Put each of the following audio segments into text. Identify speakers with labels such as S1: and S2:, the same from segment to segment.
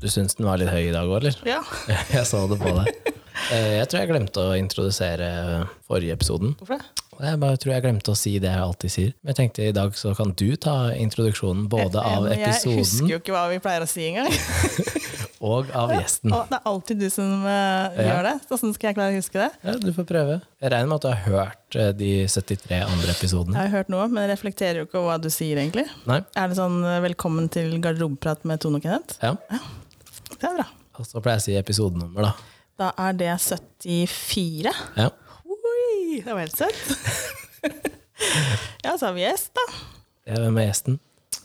S1: Du syns den var litt høy i dag òg, eller?
S2: Ja.
S1: Jeg så det på deg. Eh, Jeg tror jeg glemte å introdusere forrige episoden.
S2: Hvorfor det?
S1: Jeg bare tror jeg glemte å si det jeg alltid sier. Men jeg tenkte i dag så kan du ta introduksjonen både av
S2: Men Jeg husker
S1: episoden
S2: jo ikke hva vi pleier å si engang.
S1: og av gjesten.
S2: Og det er alltid du som eh,
S1: Ja.
S2: gjør det. Så Hvordan skal jeg klare å huske det?
S1: Ja, du får prøve. Jeg regner med at du har hørt eh, de 73 andre
S2: Jeg
S1: episodene.
S2: har hørt noe, men reflekterer jo ikke over hva du sier, egentlig.
S1: Nei?
S2: Er det sånn eh, 'velkommen til garderobeprat med Tone og Kenneth'?
S1: Ja.
S2: Det er bra.
S1: Og så pleier jeg å si episodenummer, da.
S2: Da er det 74.
S1: Ja.
S2: Oi, det var helt søtt. ja, så har vi gjest, da.
S1: Ja, Hvem er gjesten?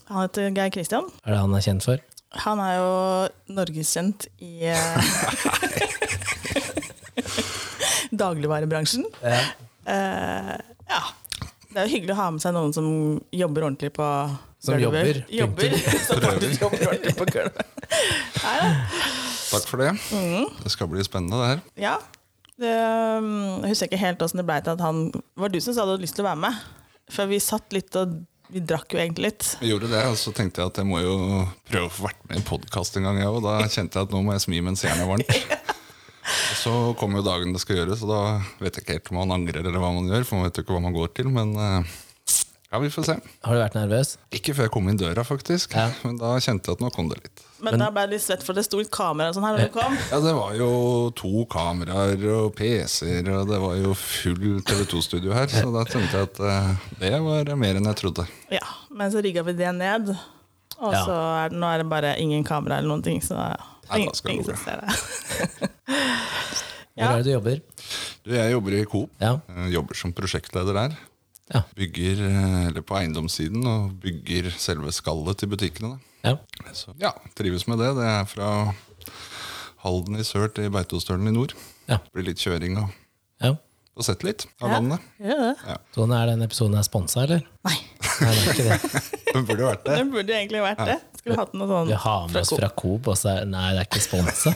S2: Han heter Geir Kristian.
S1: Er det han er kjent for?
S2: Han er jo norgeskjent i eh, dagligvarebransjen.
S1: Ja.
S2: Eh, ja. Det er jo hyggelig å ha med seg noen som jobber ordentlig på
S1: Som
S2: gulvet.
S1: jobber, punktum.
S2: Jobber. som faktisk jobber ordentlig på gulvet. Nei, da.
S3: Takk for det. Det skal bli spennende, det her.
S2: ja. Det, um, jeg husker ikke helt åssen det blei til at han Var det du som sa du hadde lyst til å være med? For vi satt litt og Vi drakk jo egentlig litt.
S3: Jeg gjorde det, og så tenkte jeg at jeg må jo prøve å få vært med i en podkast en gang, jeg òg. Da kjente jeg at nå må jeg smi mens jernet er varmt. Og så kom jo dagen det skal gjøres, og da vet jeg ikke helt om man angrer eller hva man gjør, for man vet jo ikke hva man går til, men eh, ja, vi får se.
S1: Har du vært nervøs?
S3: Ikke før jeg kom inn døra, faktisk,
S1: Ja.
S3: men da kjente jeg at nå kom det litt.
S2: Men, da ble jeg litt svett, for det sto et kamera og sånn her når du kom.
S3: Ja, det var jo to kameraer og PC-er, og det var jo full TV2-studio her, så da tenkte jeg at eh, det var mer enn jeg trodde.
S2: Ja, men så rigga vi det ned. Og
S1: Ja.
S2: så er, nå er det bare ingen kamera eller noen ting, så
S3: da
S2: ingen,
S3: skal det
S2: ingen
S3: gå
S2: som ser det.
S1: Hvor
S2: Ja.
S1: er det du jobber?
S3: Du, jeg jobber i Coop.
S1: Ja.
S3: Eh, Jobber som prosjektleder der.
S1: Ja.
S3: Bygger, eh, eller på eiendomssiden og bygger selve skallet til butikkene. Da.
S1: ja.
S3: Så ja, trives med det. Det er fra Halden i sør til Beitostølen i nord.
S1: Ja.
S3: Blir litt kjøring og,
S1: ja.
S3: og sett litt av
S2: Ja.
S3: landet.
S2: Gjør det?
S1: Sånn er den episoden er sponsa, eller?
S2: Nei,
S1: Nei, det er ikke det.
S3: Det burde vært det.
S2: det burde jo egentlig vært det. Skulle hatt noe sånn
S1: Vi har med oss
S2: Coop.
S1: fra Coop, og så er Nei, det er ikke sponsa.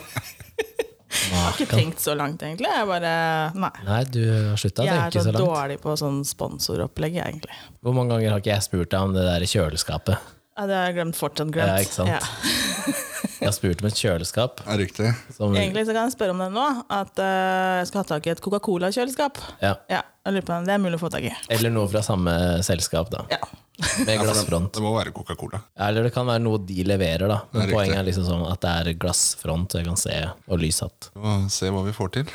S2: Ikke tenkt så langt, egentlig. Jeg bare Nei.
S1: Nei, du har slutta å
S2: Jeg er
S1: tenke
S2: så
S1: så langt.
S2: dårlig på sånn sponsoropplegg, jeg, egentlig.
S1: Hvor mange ganger har ikke jeg spurt deg om det der kjøleskapet?
S2: Ja, det har jeg glemt fortsatt
S1: Ja,
S2: glemt.
S1: ikke sant? Jeg har spurt om et kjøleskap.
S3: Ja, riktig.
S1: Som,
S2: Egentlig så kan jeg spørre om det nå, at eh, jeg skal ha tak i et Coca-Cola-kjøleskap.
S1: ja.
S2: Ja, jeg lurer på om Det er mulig å få tak i.
S1: Eller noe fra samme selskap, da.
S2: Ja.
S1: Med
S3: Ja, for det,
S1: glassfront.
S3: det må være Coca-Cola.
S1: Eller det kan være noe de leverer, da. Men
S3: Det er
S1: poenget er liksom sånn at det er glassfront, så jeg kan se, og lyshatt.
S3: Vi må se hva vi får til.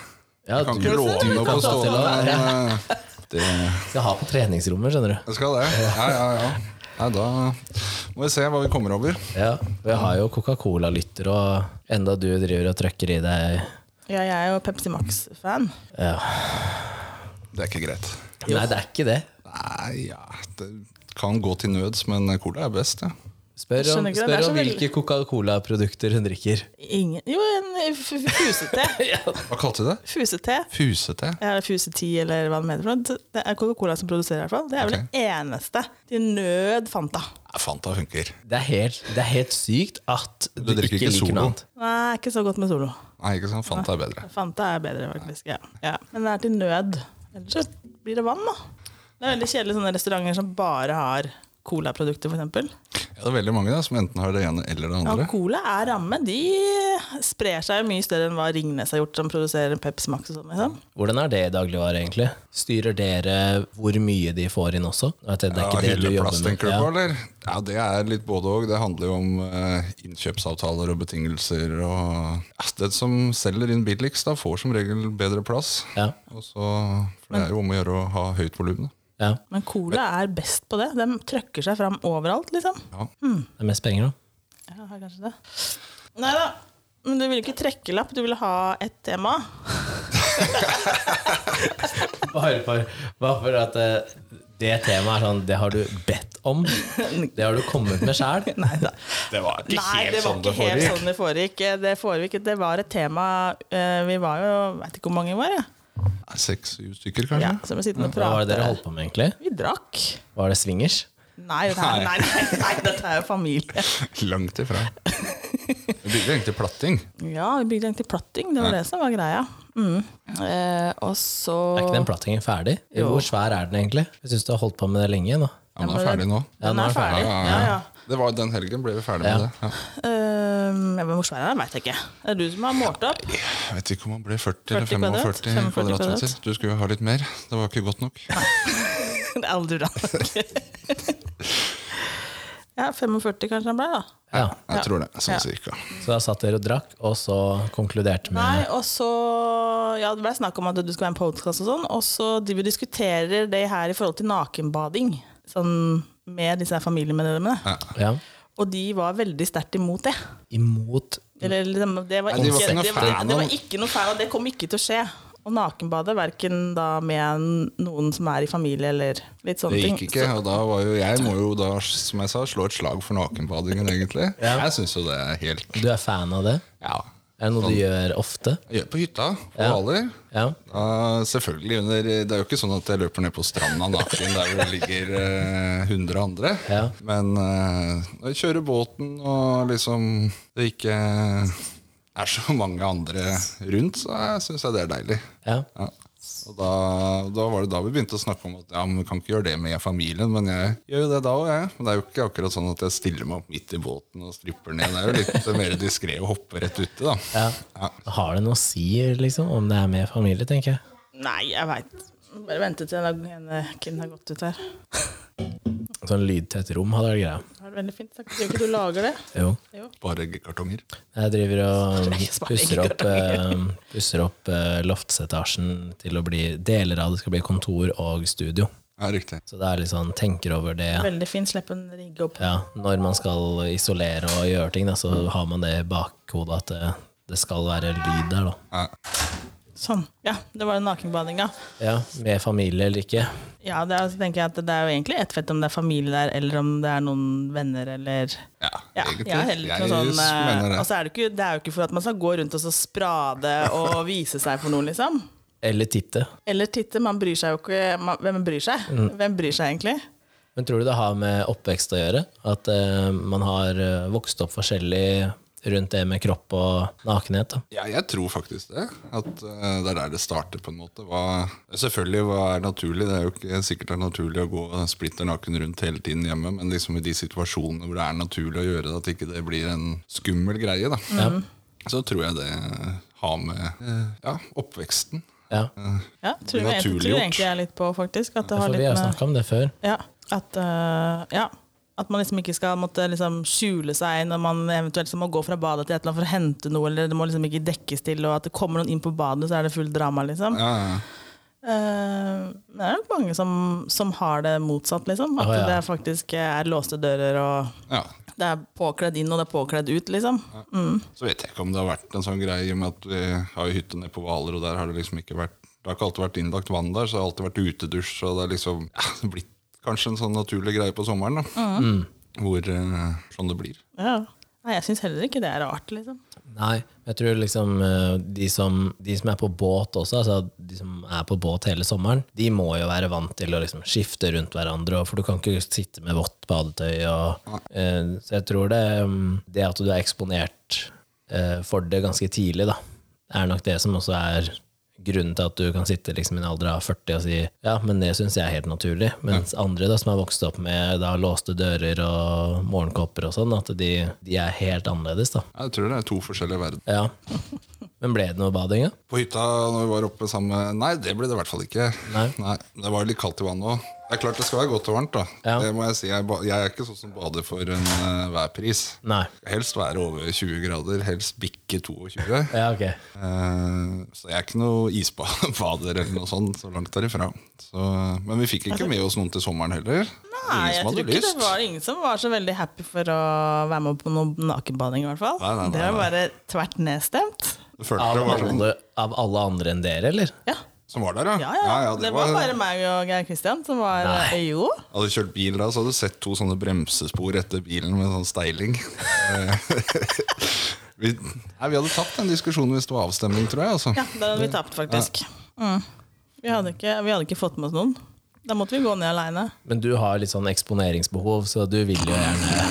S1: Ja,
S3: Jeg kan
S1: du
S3: ikke
S1: du
S3: love noe på
S1: kan få til
S3: stående,
S1: å-
S3: men eh, det
S1: skal ha på treningsrommet, skjønner du.
S3: jeg skal det. Ja, ja, ja. Nei, da må vi se hva vi kommer over.
S1: Ja, Vi har jo Coca-Cola-lytter, og enda du driver og trøkker i deg
S2: ja, jeg er jo Pepsi Max-fan.
S1: ja.
S3: Det er ikke greit.
S1: Nei, det er ikke det.
S3: Nei, ja Det kan gå til nøds, men cola er best, ja.
S1: Spør
S2: Jeg
S1: om,
S2: skjønner ikke det, det
S1: spør om
S2: er så
S1: hvilke Coca-Cola-produkter hun drikker.
S2: Ingen Jo, en f- f- fusete.
S3: Hva kalte du det?
S2: Fusete.
S3: Fusete?
S2: Eller Fuse 10, eller hva det heter. for noe. Det er Coca-Cola som produserer, i hvert fall. Det er vel
S3: Ok.
S2: det eneste. Til nød Fanta.
S3: Ja, Fanta funker.
S1: Det er helt, det er helt sykt at du,
S3: drikker
S1: ikke,
S3: ikke
S1: liker
S3: Solo?
S1: noe annet.
S2: Nei, ikke så godt med Solo.
S3: Nei, ikke sant? Fanta er bedre.
S2: Fanta er bedre, faktisk. Ja. Ja. Men det er til nød. Ellers så blir det vann, da. Det er veldig kjedelig sånne restauranter som bare har colaprodukter, f.eks.
S3: Ja, det er veldig mange da, som enten har det ene eller det
S2: Ja,
S3: andre.
S2: cola er ramme. De sprer seg jo mye større enn hva Ringnes har gjort, som produserer Pepsi Max og sånn. liksom.
S1: Hvordan er det i dagligvare, egentlig? Styrer dere hvor mye de får inn også? At det, det er
S3: Ja,
S1: ikke det du
S3: Hylleplass,
S1: jobber med.
S3: tenker du
S1: Ja.
S3: på, eller? Ja, det er litt både òg. Det handler jo om eh, innkjøpsavtaler og betingelser og ja, Den som selger inn billigst, da, får som regel bedre plass.
S1: Ja,
S3: Og så, for det er jo om å gjøre å ha høyt volum. da.
S1: ja.
S2: Men cola er best på det. De trøkker seg fram overalt, liksom.
S1: Det er mest penger, da.
S2: Ja, har kanskje det. Nei da. Men du ville ikke trekke lapp, du ville ha et tema.
S1: Bare for, bare for at eh, det temaet er sånn Det har du bedt om. Det har du kommet med sjæl.
S2: Nei da.
S3: Det var
S2: Nei, det var ikke helt sånn det foregikk. Det foregikk. Det var et tema eh, Vi var jo veit ikke hvor mange vi var, jeg.
S3: Seks-syv stykker,
S2: Ja,
S3: kanskje?
S2: så vi sitter og
S1: Hva var det dere
S2: prater.
S1: holdt på med, egentlig?
S2: Vi drakk.
S1: Var det swingers?
S2: Nei, dette er, nei, nei, nei, dette er jo familie.
S3: Langt ifra. Vi bygger egentlig platting.
S2: Ja, vi bygde egentlig platting. Det var det som var greia. Mm. Eh, og så
S1: Er ikke den plattingen ferdig?
S2: Jo.
S1: Hvor svær er den egentlig? Jeg syns du har holdt på med det lenge nå.
S3: Ja, men det er ferdig nå.
S1: Ja,
S2: Den
S1: nå er
S2: er
S1: den ferdig.
S2: ferdig. Ja, ja.
S3: Det var Den helgen ble vi ferdig
S1: Ja.
S3: med det. Ja.
S2: Eh, Um, ja, men hvor svær er den, veit jeg ikke. Det er du som har målt opp.
S3: Jeg vet ikke om han ble 40,
S2: 40
S3: eller 45
S2: kvadrat.
S3: kvadratmeter. Du skulle jo ha litt mer. Det var ikke godt nok.
S2: Det er aldri bra nok. ja, 45 kanskje han ble, da.
S1: Ja.
S2: Ja.
S3: Jeg tror det, sånn
S2: Ja.
S3: cirka.
S1: Så da satt dere og drakk, og så konkluderte
S2: Nei,
S1: med
S2: og så Ja, det ble snakk om at du skulle være en podcast og sånn, og så driver og diskuterer det her i forhold til nakenbading. Sånn med disse her familiemedlemmene.
S1: ja,
S2: Og de var veldig sterkt imot det.
S1: imot
S2: Eller, liksom, det, var
S3: Nei, Mm. de var
S2: ikke,
S3: ikke noe
S2: det, var,
S3: fan
S2: det
S3: av-
S2: var ikke noe fan, og det kom ikke til å skje. Og nakenbade, verken da med en- noen som er i familie, eller litt sånne
S3: Det
S2: ting.
S3: gikk ikke, og da var jo jeg må jo da, som jeg sa, slå et slag for nakenbadingen, egentlig.
S1: Ja.
S3: Jeg syns jo det er helt
S1: Du er fan av det?
S3: Ja.
S1: Er det noe du gjør ofte?
S3: Jeg gjør på hytta, på Hvaler.
S1: Ja.
S3: Da, selvfølgelig under Det er jo ikke sånn at jeg løper ned på stranda naken der hvor det ligger eh, 100 andre.
S1: Ja.
S3: Men eh, når jeg kjører båten og liksom det ikke er så mange andre rundt, så syns jeg det er deilig.
S1: ja.
S3: Ja. Og da, da var det da vi begynte å snakke om at ja, men vi kan ikke gjøre det med familien. Men jeg gjør jo det da òg, jeg. Men det er jo ikke akkurat sånn at jeg stiller meg opp midt i båten og stripper ned. Det er jo litt mer diskré å hoppe rett uti, da.
S1: ja.
S3: Ja.
S1: Har det noe å si liksom, om det er med familie, tenker jeg?
S2: Nei, jeg veit. Bare vente til en ene kvinnen har gått ut her.
S1: Sånn lydtett rom hadde vært greia.
S2: Det er veldig fint. Takk. Tror ikke du lager det.
S1: Jo.
S3: Bare eggekartonger.
S1: Jeg driver og
S2: Nei, smart,
S1: pusser opp, eh, pusser opp eh, loftsetasjen til å bli Deler av det skal bli kontor og studio.
S3: Ja, riktig.
S1: Så det er litt sånn tenker over det
S2: Veldig fint. Slipp en rigge opp.
S1: ja, Når man skal isolere og gjøre ting, da, så har man det i bakhodet at det, det skal være lyd der, da.
S3: Ja.
S2: Sånn. Ja, det var den nakenbadinga.
S1: Ja, med familie eller ikke.
S2: Ja, det er, så tenker jeg at det er jo egentlig ett fett om det er familie der, eller om det er noen venner, eller
S3: Ja,
S2: ja,
S3: egentlig.
S2: jeg er heller ikke noe sånn eh,
S3: mener det.
S2: altså er det, ikke, det er jo ikke for at man skal gå rundt og så sprade og vise seg for noen, liksom.
S1: Eller titte. Eller
S2: Titte, man bryr seg jo ikke man, Hvem bryr seg?
S3: Mm.
S2: Hvem bryr seg egentlig?
S1: Men tror du det har med oppvekst å gjøre? At eh, man har eh, vokst opp forskjellig rundt det med kropp og nakenhet? da?
S3: ja, jeg tror faktisk det. At eh, det er der det starter, på en måte. Hva, selvfølgelig hva er naturlig. Det er jo ikke sikkert det er naturlig å gå splitter naken rundt hele tiden hjemme, men liksom i de situasjonene hvor det er naturlig å gjøre det, at ikke det blir en skummel greie, da.
S2: Mm.
S3: Så tror jeg det har med eh, ja, oppveksten.
S1: Ja,
S2: Ja, tror jeg, tror jeg
S3: Naturliggjort.
S2: egentlig jeg er litt på, faktisk. At det
S1: for
S2: har
S1: vi
S2: litt
S1: har
S2: med
S1: snakka om det før.
S2: Ja, at, øh, ja, at man liksom ikke skal måtte liksom skjule seg når man eventuelt må gå fra badet til et eller annet for å hente noe, eller det må liksom ikke dekkes til, og at det kommer noen inn på badet, så er det fullt drama, liksom.
S3: Ja, ja.
S2: Eh, det er nok mange som, som har det motsatt, liksom. At
S1: Å, ja.
S2: det er faktisk er låste dører, og
S3: ja.
S2: det er påkledd inn, og det er påkledd ut, liksom.
S3: Så vet jeg ikke om det har vært en sånn greie med at vi har jo hytte nede på Hvaler, og der har det liksom ikke vært Det har ikke alltid vært innlagt vann der, så det har alltid vært utedusj, så det er liksom ja, det har blitt kanskje en sånn naturlig greie på sommeren, da.
S1: Mm.
S3: Hvor eh, sånn det blir.
S2: Ja. Nei, jeg syns heller ikke det er rart, liksom.
S1: Nei, jeg tror liksom eh, de som, de som er på båt også, altså de som er på båt hele sommeren, de må jo være vant til å liksom skifte rundt hverandre, og- for du kan ikke sitte med vått badetøy. Og, eh, så jeg tror det, mm, det at du er eksponert eh, for det ganske tidlig, da, er nok det som også er grunnen til at du kan sitte liksom i en alder av 40 og si ja, men det syns jeg er helt naturlig. Mens andre da, som har vokst opp med da, låste dører og morgenkåper og sånn, at de, de er helt annerledes. da.
S3: Jeg tror det er to forskjellige verdener.
S1: Ja. Men ble det noe bading, da?
S3: På hytta når vi var oppe sammen med- Nei, det ble det i hvert fall ikke.
S1: Nei.
S3: Det var jo litt kaldt i vannet òg. Det er klart det skal være godt og varmt, da.
S1: Ja.
S3: Det må Jeg si. Jeg, ba, jeg er ikke sånn som bader for enhver pris.
S1: Nei.
S3: Helst være over 20 grader, helst bikke 22.
S1: Ja, ok.
S3: Eh, Så jeg er ikke noe isbader eller noe sånt, så langt derifra. Så, men vi fikk ikke med oss noen til sommeren heller.
S2: Altså- Nei, jeg tror ikke det var ingen som var så veldig happy for å være med på noen nakenbading, i hvert fall.
S3: Nei, nei, nei,
S2: det var
S3: nei.
S2: bare tvert nedstemt.
S3: Jeg følte
S1: Av
S3: det var sånn
S1: alle, av alle andre enn dere, eller?
S2: Ja.
S3: som var der, ja.
S2: Ja, ja.
S3: det
S2: det, var, bare meg og Geir Kristian som var eh,
S1: Nei.
S2: Jo.
S3: Hadde du kjørt bil da, så hadde du sett to sånne bremsespor etter bilen med sånn steiling. Eh, vi, nei, vi hadde tapt den diskusjonen hvis det var avstemning, tror jeg. Altså.
S2: Ja, da hadde vi tapt, faktisk. Mm. Vi, hadde ikke, vi hadde ikke fått med oss noen. Da måtte vi gå ned aleine.
S1: Men du har litt sånn eksponeringsbehov, så du vil jo gjerne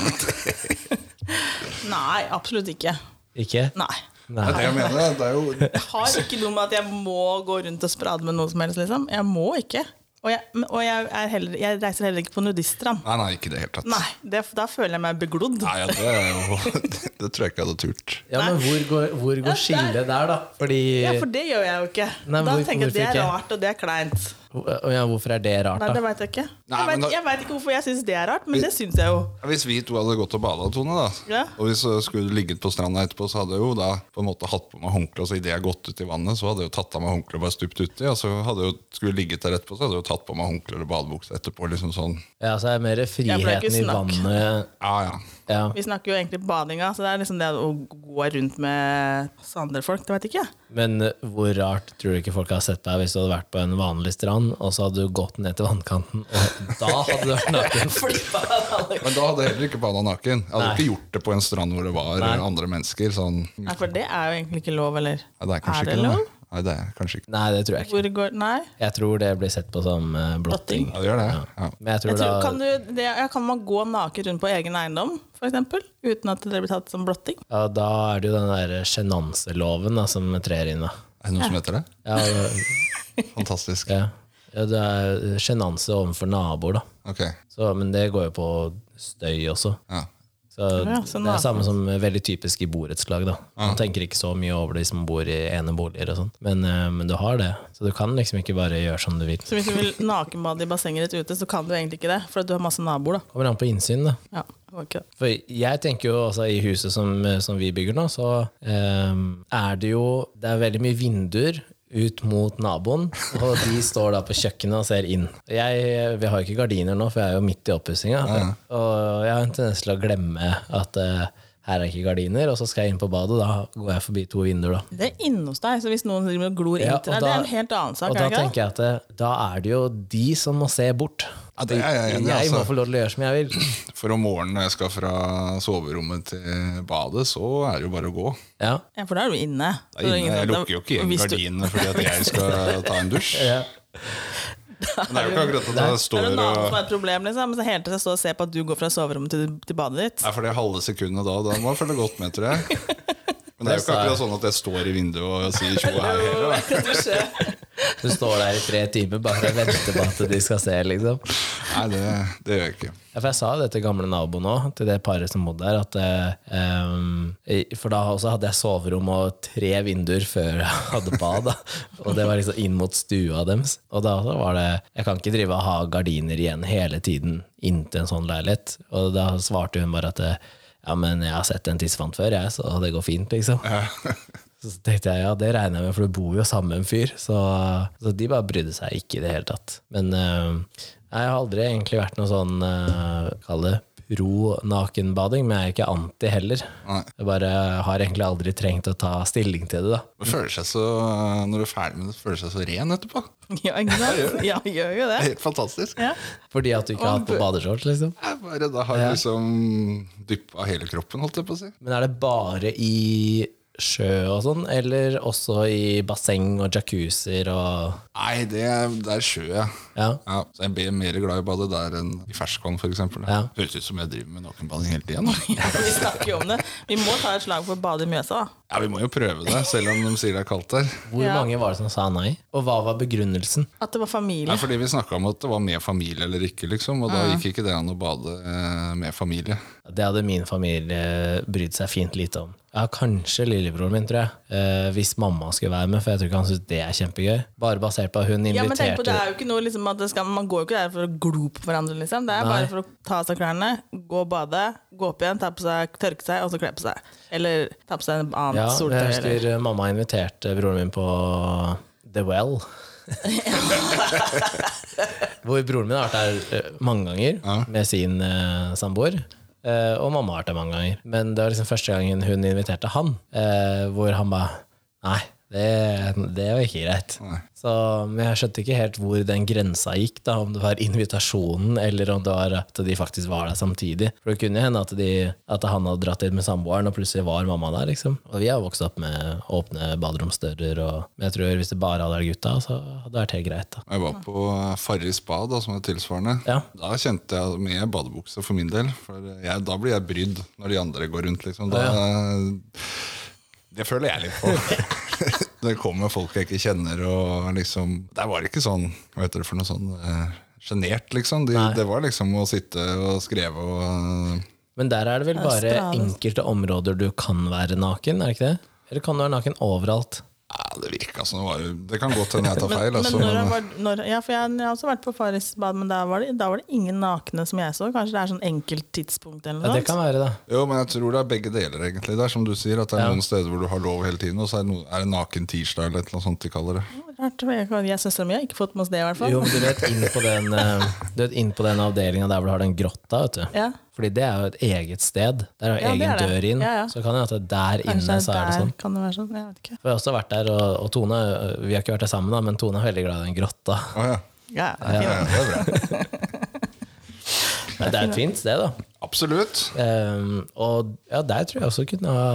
S2: Nei, absolutt ikke.
S1: Ikke?
S2: Nei.
S3: Det
S1: Nei.
S3: er det jeg mener. Det er jo
S2: Jeg har ikke noe med at jeg må gå rundt og sprade med noe som helst, liksom. Jeg må ikke. Og jeg, men- og jeg, er heller, jeg reiser heller ikke på nudiststrand.
S3: Nei, nei, ikke i det hele tatt.
S2: Nei, det, da føler jeg meg beglodd.
S3: Nei, ja, det er jo Det tror jeg ikke jeg hadde turt.
S1: Ja, men hvor går, hvor går skillet der, da? Fordi
S2: Ja, for det gjør jeg jo ikke.
S1: Nei,
S2: da
S1: hvor-
S2: tenker jeg at det
S1: hvorfor
S2: er
S1: ikke?
S2: Rart, og det er kleint.
S1: Å, ja, Hvorfor er det rart,
S2: Nei, det
S1: da?
S2: veit jeg ikke.
S3: Nei,
S2: jeg vet-
S3: men da-
S2: Jeg veit ikke hvorfor jeg syns det er rart, men det syns jeg jo.
S3: Hvis vi to hadde gått og bada, Tone, da,
S2: Ja.
S3: og hvis jeg skulle ligget på stranda etterpå, så hadde jeg jo da på en måte hatt på meg håndkle, og så idet jeg gått ut i vannet, så hadde jeg jo tatt av meg håndkleet og bare stupt uti, og så hadde jeg jo skulle jeg ligget der etterpå, så hadde jeg jo tatt på meg håndkle eller badebukse etterpå, liksom sånn.
S1: Ja, så er det mer
S2: Ja, for det er
S1: friheten
S2: ikke
S1: i
S2: snakk.
S1: vannet
S3: Ja, ja.
S1: ja.
S2: Vi snakker jo egentlig badinga, så det er liksom det å gå rundt med sandalfolk. Det veit ikke jeg.
S1: Men eh, hvor rart tror du ikke folk har sett deg hvis du hadde vært på en vanlig strand, og så hadde du gått ned til vannkanten, og da hadde du vært naken?
S3: Men da hadde jeg heller ikke bada naken. Jeg hadde
S1: Nei.
S3: ikke gjort det på en strand hvor det var eh, andre mennesker. Sånn. Nei,
S2: Nei, for det er jo egentlig ikke lov, eller?
S3: det er kanskje
S2: det
S3: ikke
S2: lov?
S3: det. Nei, det er kanskje ikke
S1: Nei, det tror jeg ikke.
S2: Hvor går Nei.
S1: Jeg tror det blir sett på som eh, blotting.
S3: Ja, det gjør det. Ja.
S1: Men jeg tror,
S2: Jeg tror, kan,
S1: da,
S2: du, det, ja, kan man gå naken rundt på egen eiendom, f.eks.? Uten at det blir tatt som blotting?
S1: ja, da er det jo den der eh, sjenanseloven da, som trer inn, da.
S3: Er det noe som heter det?
S1: Ja, det-
S3: Fantastisk.
S1: ja. ja, det er sjenanse overfor naboer, da.
S3: Ok,
S1: Så, men det går jo på støy også.
S3: ja.
S1: Så
S2: Ja, sånn
S1: det
S2: da.
S1: er samme som er veldig typisk i borettslag. da. Man tenker ikke så mye over de som bor i ene boliger og sånn, men, eh, men du har det. Så du kan liksom ikke bare gjøre som du vil.
S2: Så hvis du vil nakenbade i bassenget ditt ute, så kan du egentlig ikke det, for at du har masse naboer, da.
S1: Kommer an på innsyn, da.
S2: Ja, det var ikke det.
S1: For jeg tenker jo altså i huset som, som vi bygger nå, så eh, er det jo Det er veldig mye vinduer ut mot naboen, og de står da på kjøkkenet og ser inn. Jeg, vi har jo ikke gardiner nå, for jeg er jo midt i oppussinga, og jeg har en tendens til å glemme at eh, her er ikke gardiner, og så skal jeg inn på badet, og da går jeg forbi to vinduer, da.
S2: Det er inne hos deg, så hvis noen driver og glor
S1: Ja,
S2: inn til
S1: og
S2: deg, det
S1: da-
S2: er en helt annen sak.
S1: Og
S2: er
S1: da
S2: det ikke det?
S1: tenker jeg at det, da er det jo de som må se bort.
S3: Ja, det er jeg enig i,
S1: Jeg må
S3: altså.
S1: få lov til å gjøre som jeg vil.
S3: For om morgenen når jeg skal fra soverommet til badet, så er det jo bare å gå.
S1: Ja.
S2: Ja, for da er du inne.
S3: Da er jeg inne, jeg lukker jo ikke igjen
S2: Hvis du-
S3: gardinene fordi at jeg skal ta en dusj.
S1: Ja.
S3: Men det er jo ikke akkurat at jeg
S2: Er
S3: står
S2: det
S3: og
S2: noen annen som har et problem, liksom? Så hele tiden jeg står og ser på at du går fra soverommet til, til badet ditt.
S3: Nei, for det halve sekundet da, da må jeg følge godt med, tror jeg. Men det er jo ikke akkurat sånn at jeg står i vinduet og sier tjo her heller. da.
S1: Du står der i tre timer bare og venter på at de skal se, liksom.
S3: Nei, det, det gjør jeg ikke.
S1: Ja, for jeg sa jo det til gamle naboen òg, til det paret som bodde der. At, eh, em, i- for da også hadde jeg soverom og tre vinduer før jeg hadde bad. Da. Og det var liksom inn mot stua deres. Og da så var det Jeg kan ikke drive og ha gardiner igjen hele tiden inntil en sånn leilighet. Og da svarte hun bare at eh, ja, men jeg har sett en tissefant før, jeg, så det går fint, liksom. Så tenkte jeg, ja, det regner jeg med, for du bor jo sammen med en fyr. Så, så de bare brydde seg ikke i det hele tatt. Men eh, jeg har aldri egentlig vært noe sånn uh, Kall det pro nakenbading, men jeg er ikke anti heller.
S3: Nei.
S1: Jeg bare har egentlig aldri trengt å ta stilling til det, da.
S3: Men føler seg så, når du er ferdig med det, føler seg så ren etterpå.
S2: Ja, ikke sant? Ja, gjør jo det.
S3: Helt fantastisk.
S2: Ja.
S1: Fordi at du ikke har hatt på badeshorts, liksom.
S3: Jeg bare, da har jeg liksom dyppa hele kroppen, holdt jeg på å si.
S1: Men er det bare i sjø og sånn, eller også i basseng og jacuzzier og
S3: Nei, det, det er sjø, ja.
S1: Ja.
S3: Ja, så jeg blir mer glad i å bade der enn i ferskvann, f.eks.
S1: Ja.
S3: Høres ut som jeg driver med nakenbading hele tida.
S2: Vi snakker jo om det. Vi må ta et slag for å bade i Mjøsa, da.
S3: Ja, vi må jo prøve det, selv om de sier det er kaldt der.
S1: Hvor
S2: Ja.
S1: mange var det som sa nei? Og hva var begrunnelsen?
S2: At det var familie.
S3: Nei, fordi vi snakka om at det var med familie eller ikke, liksom. Og da gikk ikke det an å bade eh, med familie.
S1: Det hadde min familie brydd seg fint lite om. Ja, Kanskje lillebroren min, tror jeg. Eh, hvis mamma skulle være med, for jeg tror ikke han synes det er kjempegøy. Bare basert på at hun
S2: Ja, men tenk på,
S1: inviterte
S2: det er jo ikke noe liksom, at det skal, Man går jo ikke der for å glo på hverandre, liksom. Det er
S1: Nei.
S2: bare for å ta av seg klærne, gå og bade, gå opp igjen, ta på seg, tørke seg, og så kle på seg. Eller ta på seg en annen
S1: Ja,
S2: soltøy.
S1: jeg
S2: Eller.
S1: husker eh, mamma inviterte broren min på The Well. Hvor broren min har vært der eh, mange ganger med sin eh, samboer. Eh, og mamma har vært der mange ganger. Men det var liksom første gangen hun inviterte han, eh, hvor han ba Nei, det, det var ikke greit. Så, men jeg skjønte ikke helt hvor den grensa gikk, da, om det var invitasjonen eller om det var at de faktisk var der samtidig. For det kunne hende at, de, at han hadde dratt inn med samboeren, og plutselig var mamma der. liksom. Og vi har vokst opp med åpne baderomsdører, og men jeg tror hvis det bare hadde vært gutta, så hadde det vært helt greit. da.
S3: Og Jeg var på Farris bad, da, som er tilsvarende.
S1: Ja.
S3: Da kjente jeg med badebukse for min del. For jeg, da blir jeg brydd når de andre går rundt, liksom. Da, Det føler jeg litt på. det kommer folk jeg ikke kjenner, og liksom Der var det ikke sånn Hva heter det for noe sånn eh, sjenert, liksom. De, det var liksom å sitte og skreve og eh,
S1: Men der er det vel bare
S2: Australia.
S1: enkelte områder du kan være naken, er det ikke det? Eller kan du være naken overalt?
S3: Ja, det virka som det var Det kan godt hende jeg tar
S2: Men,
S3: feil. Altså,
S2: men når jeg
S3: men,
S2: var, når, ja, for jeg, jeg har også vært på Farrisbad, men da var, det, da var det ingen nakne som jeg så. Kanskje det er sånn enkelt tidspunkt eller
S1: Ja,
S2: noe
S1: det kan
S2: sånt.
S1: være det.
S3: eh, jo, men jeg tror det er begge deler, egentlig. Det er som du sier, at det er
S1: Ja.
S3: noen steder hvor du har lov hele tiden, og så er det, noen, er det naken tirsdag eller et eller annet sånt de kaller det.
S2: Rart, for jeg, jeg Søstera mi har ikke fått med oss det, i hvert fall.
S1: Jo, men du vet inn på den, eh, du vet, inn på den avdelinga der hvor du har den grotta, vet du.
S2: Ja.
S1: Fordi det er jo et eget sted. Der er jo
S2: Ja, det
S1: egen
S2: er det.
S1: dør inn.
S2: Ja, ja.
S1: Så kan det hende at der
S2: Kanskje
S1: inne så er det
S2: der
S1: sånn.
S2: Kan det være sånn? Jeg vet ikke.
S1: For jeg har også vært der, og, og Tone øh, Vi har ikke vært der sammen, da, men Tone er veldig glad i den grotta.
S3: Å Ah, ja.
S2: Ja, det er
S3: ja,
S2: fint.
S3: det er bra.
S1: Men det er et fint sted, da.
S3: Absolutt.
S1: Ehm, og ja, der tror jeg også kunne ha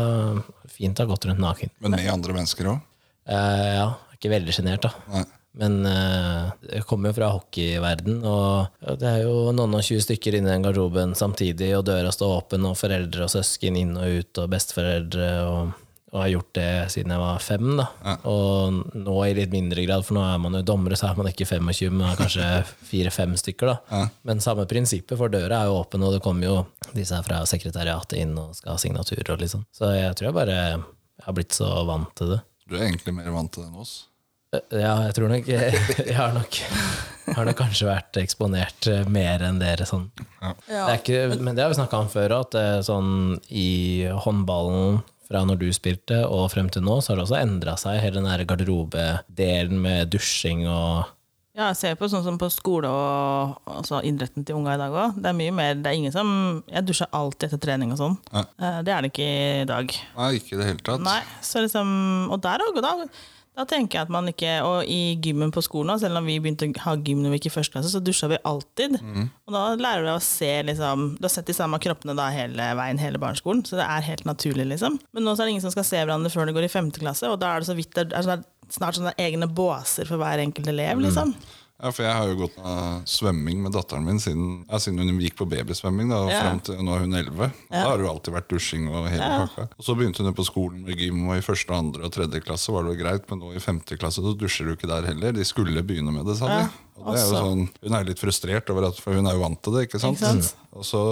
S1: fint ha gått rundt naken.
S3: Men med andre mennesker òg.
S1: Eh, ja, ikke veldig sjenert, da.
S3: Nei.
S1: Men eh, jeg kommer jo fra hockeyverden, og ja, det er jo noen og tjue stykker inne i den garderoben samtidig, og døra står åpen, og foreldre og søsken inn og ut, og besteforeldre, og, og har gjort det siden jeg var fem, da. Og nå i litt mindre grad, for nå er man jo dommere, så er man ikke 25, men man er kanskje fire-fem stykker, da. Men samme prinsippet, for døra er jo åpen, og det kommer jo disse her fra sekretariatet inn og skal ha signaturer og liksom. Så jeg tror jeg bare har blitt så vant til det.
S3: Du er egentlig mer vant til det enn oss.
S1: Eh, Ja, jeg tror nok Jeg har nok, har nok kanskje vært eksponert eh, mer enn dere. Sånn. Det er ikke, men det har vi snakka om før òg, at eh, sånn i håndballen fra når du spilte og frem til nå, så har det også endra seg, hele den der garderobedelen med dusjing og
S2: Ja, jeg ser på sånn som på skole og altså idretten til unga i dag òg. Det er mye mer, det er ingen som Jeg dusjer alltid etter trening og sånn.
S3: Ja.
S2: Eh, Det er det ikke i dag.
S3: Nei, ikke i det hele tatt.
S2: Nei, så liksom Og der òg, da. Da tenker jeg at man ikke Og i gymmen på skolen, også, selv om vi begynte å ha gym når vi gikk i første klasse, så dusja vi alltid. Og da lærer du deg å se liksom Du har sett de samme kroppene da hele veien, hele barneskolen, så det er helt naturlig, liksom. Men nå så er det ingen som skal se hverandre før de går i femte klasse, og da er det så vidt det er sånn- snart sånne egne båser for hver enkelt elev, liksom.
S3: Ja, for jeg har jo gått av svømming med datteren min siden, ja, siden hun gikk på babysvømming. da, og
S2: Ja.
S3: frem til Nå er hun 11. Da har det jo alltid vært dusjing og hele pakka. Og så begynte hun på skolen med gym, og i første, andre og tredje klasse var det jo greit, men nå i femte klasse så dusjer du ikke der heller. De skulle begynne med det, sa de. Og det er jo
S2: altså.
S3: sånn, hun er jo litt frustrert, over at, for hun er jo vant til det. ikke sant?
S2: Ikke sant?
S3: Og så,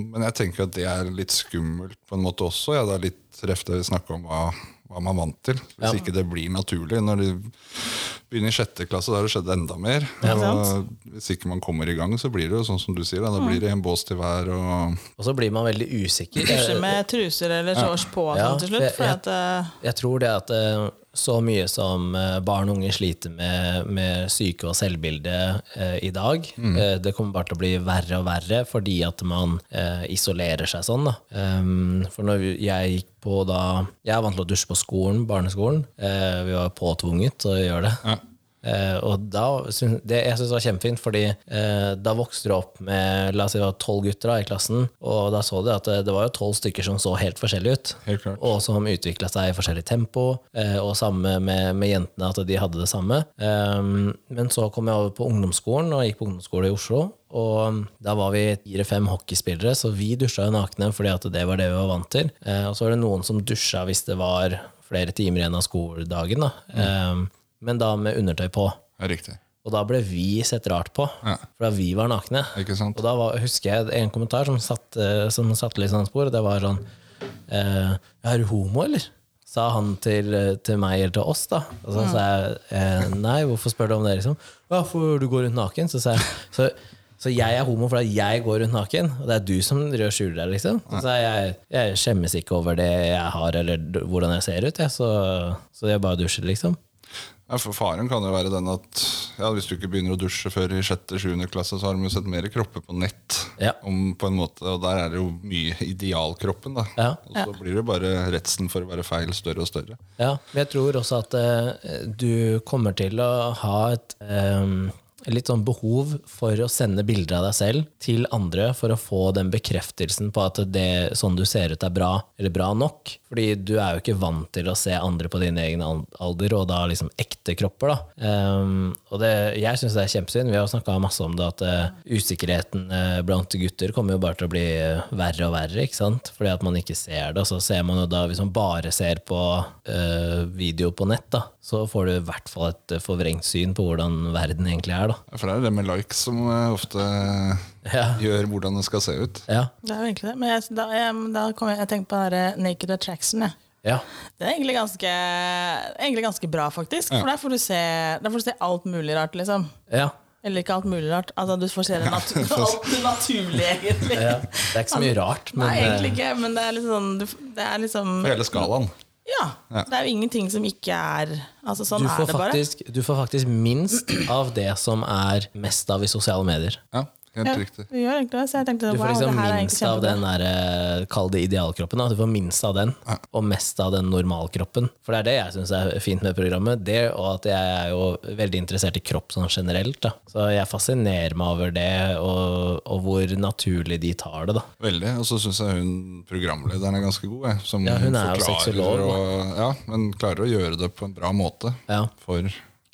S3: men jeg tenker at det er litt skummelt på en måte også. Ja, det er litt ref det vi snakker om hva, hva man er vant til. Hvis ikke det blir naturlig. Når de begynner i sjette klasse, da har det skjedd enda mer. Og hvis ikke man kommer i gang, så blir det jo sånn som du sier. Da, da blir det en bås til hver. Og,
S1: Og så blir man veldig usikker.
S2: Dusje med truser eller shorts på og
S1: Eh, Ja,
S2: sånn til slutt.
S1: det-
S2: For
S1: jeg-
S2: at, eh,
S1: Jeg tror det at eh, så mye som eh, barn og unge sliter med, med syke og selvbilde eh, i dag, eh, det kommer bare til å bli verre og verre fordi at man eh, isolerer seg sånn. Da. Ehm, for når vi- jeg gikk på da Jeg er vant til å dusje på skolen, barneskolen. Eh, vi var påtvunget til å gjøre det. Eh, og da, syn- det jeg synes det var kjempefint, fordi eh, da vokste du opp med la oss si det var tolv gutter da, i klassen, og da så du at eh, det, det var jo tolv stykker som så helt forskjellige ut.
S3: Helt klart.
S1: Og som utvikla seg i forskjellig tempo, eh, og samme med, med jentene, at de hadde det samme. Ehm, men så kom jeg over på ungdomsskolen, og gikk på ungdomsskole i Oslo. Og da var vi fire-fem hockeyspillere, så vi dusja jo nakne fordi at det var det vi var vant til. Eh, og så var det noen som dusja hvis det var flere timer igjen av skoledagen, da. Ehm, men da med undertøy på.
S3: ja, riktig.
S1: Og da ble vi sett rart på,
S3: Ja.
S1: for da vi var nakne.
S3: Ikke sant?
S1: Og da var, husker jeg en kommentar som satte som satte litt sånn spor. og Det var sånn eh, Er du homo, eller? Sa han til, eh, til meg eller til oss, da. Og så sa jeg eh, nei, hvorfor spør du om det, liksom? Ja, for du går rundt naken. Så sa jeg så, så jeg er homo fordi jeg går rundt naken, og det er du som rød skjuler deg, liksom. Så sa jeg jeg skjemmes ikke over det jeg har, eller d- hvordan jeg ser ut, jeg, så, så jeg bare dusjer, liksom.
S3: Ja, for Faren kan jo være den at ja, hvis du ikke begynner å dusje før i 6.-7. klasse, så har de jo sett mer kropper på nett.
S1: Ja.
S3: Om, på en måte, og Der er det jo mye idealkroppen. da.
S1: Ja.
S3: Og Så blir det bare redselen for å være feil større og større.
S1: Ja, men jeg tror også at eh, du kommer til å ha et eh, litt sånn behov for å sende bilder av deg selv til andre for å få den bekreftelsen på at det sånn du ser ut er bra, eller bra nok. Fordi du er jo ikke vant til å se andre på din egen al- alder, og da liksom ekte kropper. da. Eh, og det, jeg syns det er kjempesynd. Vi har snakka masse om det, at eh, usikkerheten eh, blant gutter kommer jo bare til å bli eh, verre og verre, ikke sant? Fordi at man ikke ser det. Og så ser man jo da, hvis man bare ser på eh, video på nett, da, så får du i hvert fall et eh, forvrengt syn på hvordan verden egentlig er, da.
S3: For det er det med likes som eh, ofte
S1: Ja.
S3: gjør hvordan det skal se ut.
S1: Ja.
S2: Det er jo egentlig det. Men jeg, da, jeg, da kom jeg, jeg tenkte på den der Naked Attraction. Jeg.
S1: ja.
S2: Det er egentlig ganske, egentlig ganske bra, faktisk. For der får, du se, der får du se alt mulig rart, liksom.
S1: ja.
S2: Eller ikke alt mulig rart. Altså, du får se det natu alt det naturlige, egentlig.
S1: ja. Det er ikke så mye rart, men
S2: Nei, egentlig
S1: eh,
S2: ikke, men det er litt sånn du- Det er liksom
S3: På hele skalaen.
S2: Ja. Det er jo ingenting som ikke er Altså, sånn
S1: du
S2: er
S1: får,
S2: det bare.
S1: faktisk, du får faktisk minst av det som er mest av i sosiale medier.
S3: Ja, helt
S2: Ja,
S3: riktig.
S2: vi gjør egentlig det, så jeg tenkte
S1: Du
S2: wow,
S1: får liksom
S2: det her er
S1: minst
S2: egentlig
S1: av
S2: kjempebra.
S1: den der, eh, kall det idealkroppen. Da. Du får minst av den, og mest av den normalkroppen. For det er det jeg syns er fint med programmet. Det og at jeg er jo veldig interessert i kropp sånn generelt. Da. Så jeg fascinerer meg over det, og, og hvor naturlig de tar det, da.
S3: Veldig. Og så syns jeg hun programlederen er ganske god. Jeg, som
S1: Ja, hun er jo
S3: forklarer
S1: sexolog, da.
S3: og- Ja, men klarer å gjøre det på en bra måte.
S1: Ja.
S3: For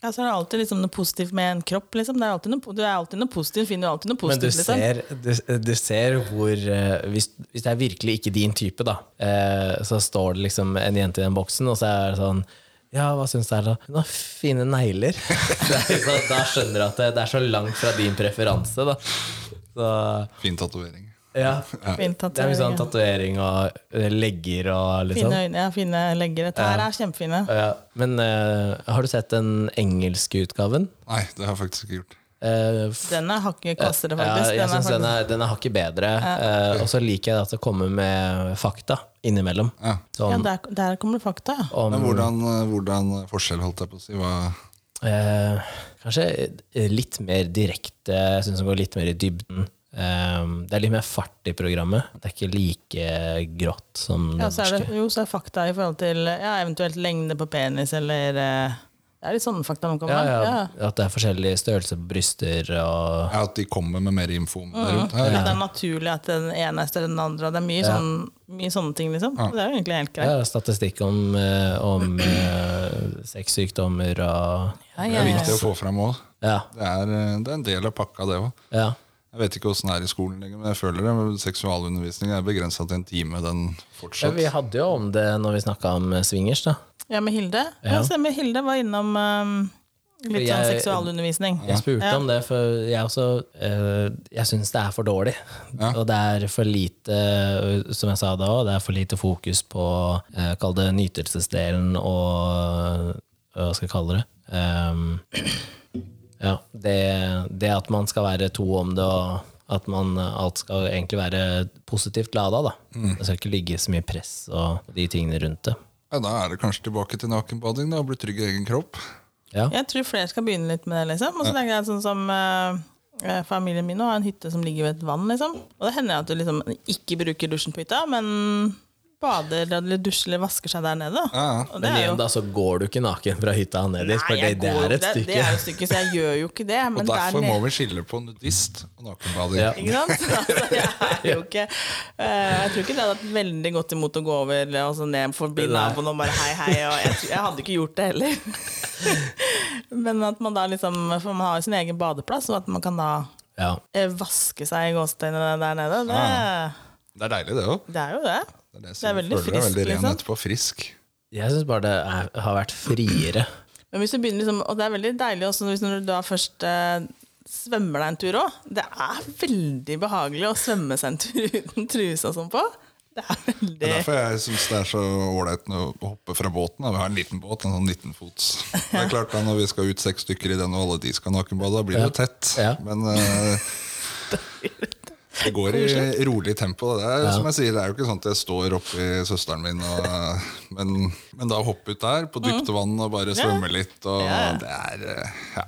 S2: Ja, så er det alltid liksom noe positivt med en kropp, liksom. Det er alltid noe, po- du er alltid noe positivt, finner jo alltid noe
S1: Men du
S2: positivt, liksom.
S1: ser, du, du ser hvor eh, hvis, hvis det er virkelig ikke din type, da, eh, så står det liksom en jente i den boksen, og så er det sånn ja, hva syns du er da? Hun har fine negler. Det er liksom, da skjønner du at det, det er så langt fra din preferanse, da. Så,
S3: fin tatovering.
S1: ja.
S2: Fint
S1: Det er mye sånn
S2: tatovering,
S1: tatovering
S2: ja.
S1: og eh, legger og liksom.
S2: Fine øyne, ja, fine legger. Dette her er kjempefine.
S1: Ja. Men eh, har du sett den engelske utgaven?
S3: Nei, det har jeg faktisk ikke gjort.
S1: Eh, f-
S2: Denne har ikke kvassere,
S1: Ja,
S2: faktisk.
S1: jeg
S2: Den er
S1: synes den,
S2: faktisk-
S1: er, den er hakket bedre. eh, og så liker jeg at det kommer med fakta innimellom.
S3: Ja.
S2: Ja,
S1: Sånn,
S2: der, der kommer det fakta, ja.
S1: om
S3: Men hvordan, eh, hvordan forskjell, holdt jeg på å si? Hva,
S1: eh, Kanskje litt mer direkte. Jeg syns den går litt mer i dybden. Eh, det er litt mer fart i programmet. Det er ikke like grått som det
S2: ja så er
S1: norske.
S2: det, jo, så er fakta i forhold til ja, eventuelt lengde på penis, eller eh, Det er litt sånne fakta man kommer
S1: Ja,
S2: med.
S1: ja,
S2: Ja.
S1: At det er forskjellig størrelse på bryster og
S3: ja, at de kommer med mer info om det rundt
S2: Ja,
S3: her?
S2: Det er naturlig at den ene er større enn den andre, og det er mye, sånn, mye sånne ting, liksom. Det er jo egentlig helt greit.
S1: ja, statistikk om, eh, om eh, sexsykdommer og
S2: Ja,
S3: Det
S2: ja,
S3: er
S2: ja.
S3: viktig å få fram òg.
S1: Ja.
S3: Det, er, eh, det er en del av pakka, det òg.
S1: ja.
S3: Jeg vet ikke åssen det er i skolen lenger, men jeg føler det. Seksualundervisning er begrensa til en time, den
S1: Ja,
S3: fortsatt.
S1: Vi hadde jo om det når vi snakka om eh, swingers, da.
S2: Ja, med Hilde. Ja. stemmer. Hilde var innom ehm, litt sånn
S1: Jeg-
S2: seksualundervisning.
S1: Jeg spurte om det, for jeg også eh, Jeg syns det er for dårlig. Og det er for lite, eh, som jeg sa da òg, det er for lite fokus på uh, Kall det nytelsesdelen og eh, Hva skal jeg kalle det? Ehm, ja, det, det at man skal være to om det, og at man, eh, alt skal egentlig være positivt lada. Da. Det skal ikke ligge så mye press og de tingene rundt det.
S3: Ja, da er det kanskje tilbake til nakenbading da, og bli trygg i egen kropp.
S1: Ja.
S2: Jeg tror flere skal begynne litt med det, liksom. Og så tenker jeg sånn som eh, eh, Familien min nå har en hytte som ligger ved et vann. liksom. Og det hender at du liksom ikke bruker dusjen på hytta, men bader eller dusjer eller vasker seg der nede. da.
S3: Ja, ja.
S2: Og det
S1: Men
S2: er jo
S1: igjen, da, så går du ikke naken fra hytta og ned dit, for det,
S2: jeg
S1: det
S2: går-
S1: er et
S2: Det, det
S1: stykke.
S2: er jo et stykke, så jeg gjør jo ikke det.
S3: Og
S2: Men der
S3: derfor
S2: nede
S3: må vi skille på nudist og nakenbading.
S1: Ja.
S2: Ikke sant? Altså, jeg er jo ikke eh, Jeg tror ikke det hadde vært veldig godt imot å gå over og så ned forbi
S1: Nei.
S2: naboen og bare hei, hei. Og jeg, tror- jeg hadde ikke gjort det heller. Men at man da liksom For man har jo sin egen badeplass, og at man kan da
S1: Ja.
S2: eh, vaske seg i gåseøynene der nede, det,
S3: Det er deilig, det òg.
S2: det er jo det.
S3: Det er, det
S2: Det er
S3: som
S2: veldig
S3: føler deg
S2: friskt,
S3: veldig ren
S2: liksom.
S3: etterpå. Frisk.
S1: Jeg syns bare det er, har vært friere.
S2: Men hvis du begynner liksom Og det er veldig deilig også hvis når du da først eh, svømmer deg en tur òg. Det er veldig behagelig å svømme seg en tur uten truse og sånn på. Det er
S3: Det
S2: veldig
S3: er derfor jeg syns det er så ålreit å hoppe fra båten. Da. Vi har en liten båt, en sånn 19-fots. Det er klart da, Når vi skal ut seks stykker i den, og alle de skal nakenbade, da blir det jo tett.
S1: Ja.
S3: Men eh, det går i rolig tempo. da. Det er som jeg sier, det er jo ikke sånn at jeg står oppi søsteren min, og, men, men da hoppe ut der på dypt
S1: Mm.
S3: vann og bare svømme litt, og
S2: Ja.
S3: det er eh, ja.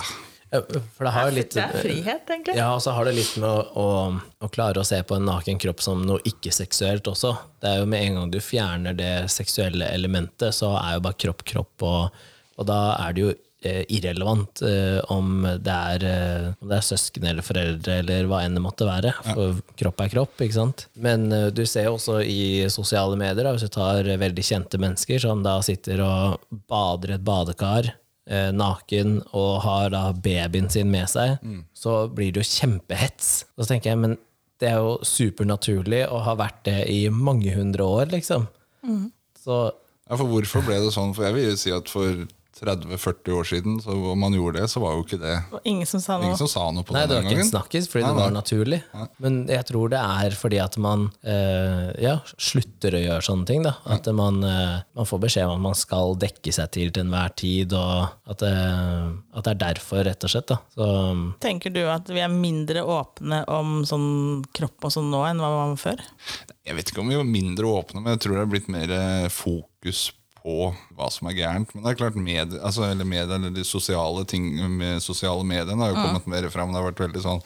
S1: Ja, For det har jo litt
S2: Det er frihet, egentlig.
S1: Ja, og så har det litt med å, å, å klare å se på en naken kropp som noe ikke-seksuelt også. Det er jo med en gang du fjerner det seksuelle elementet, så er jo bare kropp kropp, og, og da er det jo eh, irrelevant eh, om, det er, eh, om det er søsken eller foreldre eller hva enn det måtte være. For kropp er kropp, ikke sant? Men eh, du ser jo også i sosiale medier, da, hvis du tar eh, veldig kjente mennesker som da sitter og bader i et badekar eh, naken og har da babyen sin med seg, så blir det jo kjempehets. Og så tenker jeg, men det er jo supernaturlig og har vært det i mange hundre år, liksom. Så
S2: Mm.
S3: Ja, for hvorfor ble det sånn? For jeg vil jo si at for 30-40 år siden, så om man gjorde det, så var jo ikke det
S2: Og ingen som sa
S3: Ingen
S2: noe.
S3: som sa noe på
S1: Nei,
S3: det
S1: det
S3: den
S1: var ikke en
S3: gangen.
S1: snakkis, fordi det var naturlig. Men jeg tror det er fordi at man eh, ja, slutter å gjøre sånne ting. Da. At man, eh, man får beskjed om at man skal dekke seg til til enhver tid, og at, eh, at det er derfor, rett og slett. Da. Så,
S2: Tenker du at vi er mindre åpne om sånn kropp og sånn nå enn hva vi var før?
S3: Jeg vet ikke om vi var mindre åpne, men jeg tror det er blitt mer eh, fokus på hva som er gærent. Men det er klart medie, altså, eller media, eller de sosiale ting med sosiale mediene har jo kommet mer fram. Det har vært veldig sånn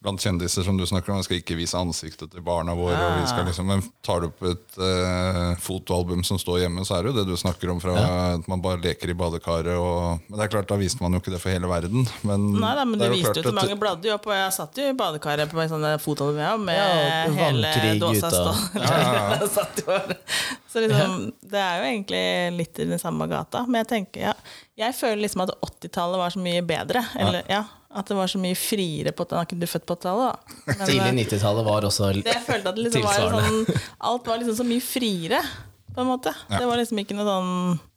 S3: blant kjendiser som du snakker om. Vi skal ikke vise ansiktet til barna våre. Og vi skal liksom, men tar du opp et eh, fotoalbum som står hjemme, så er det jo det du snakker om fra at man bare leker i badekaret. Og, men det er klart, da viste man jo ikke det for hele verden. Men,
S2: Nei da, men
S3: Mm.
S2: du
S3: det er jo
S2: viste
S3: klart
S2: jo til
S3: at-
S2: mange bladde jo opp, og jeg satt jo i badekaret på en sånn fotball med, med
S1: Ja, og
S2: hele
S1: vannkrig
S2: dåsa
S1: ut av-
S2: stående. Jeg satt jo bare- Så liksom, det er jo egentlig litt i den samme gata, men jeg tenker, ja, jeg føler liksom at 80-tallet var så mye bedre, eller ja, at det var så mye friere på, da er ikke du født på 80-tallet da. Men,
S1: tidlig
S2: eh,
S1: 90-tallet var også
S2: det jeg følte at det liksom var
S1: Tilsvarende.
S2: sånn, alt var liksom så mye friere, på en måte. Det var liksom ikke noe sånn,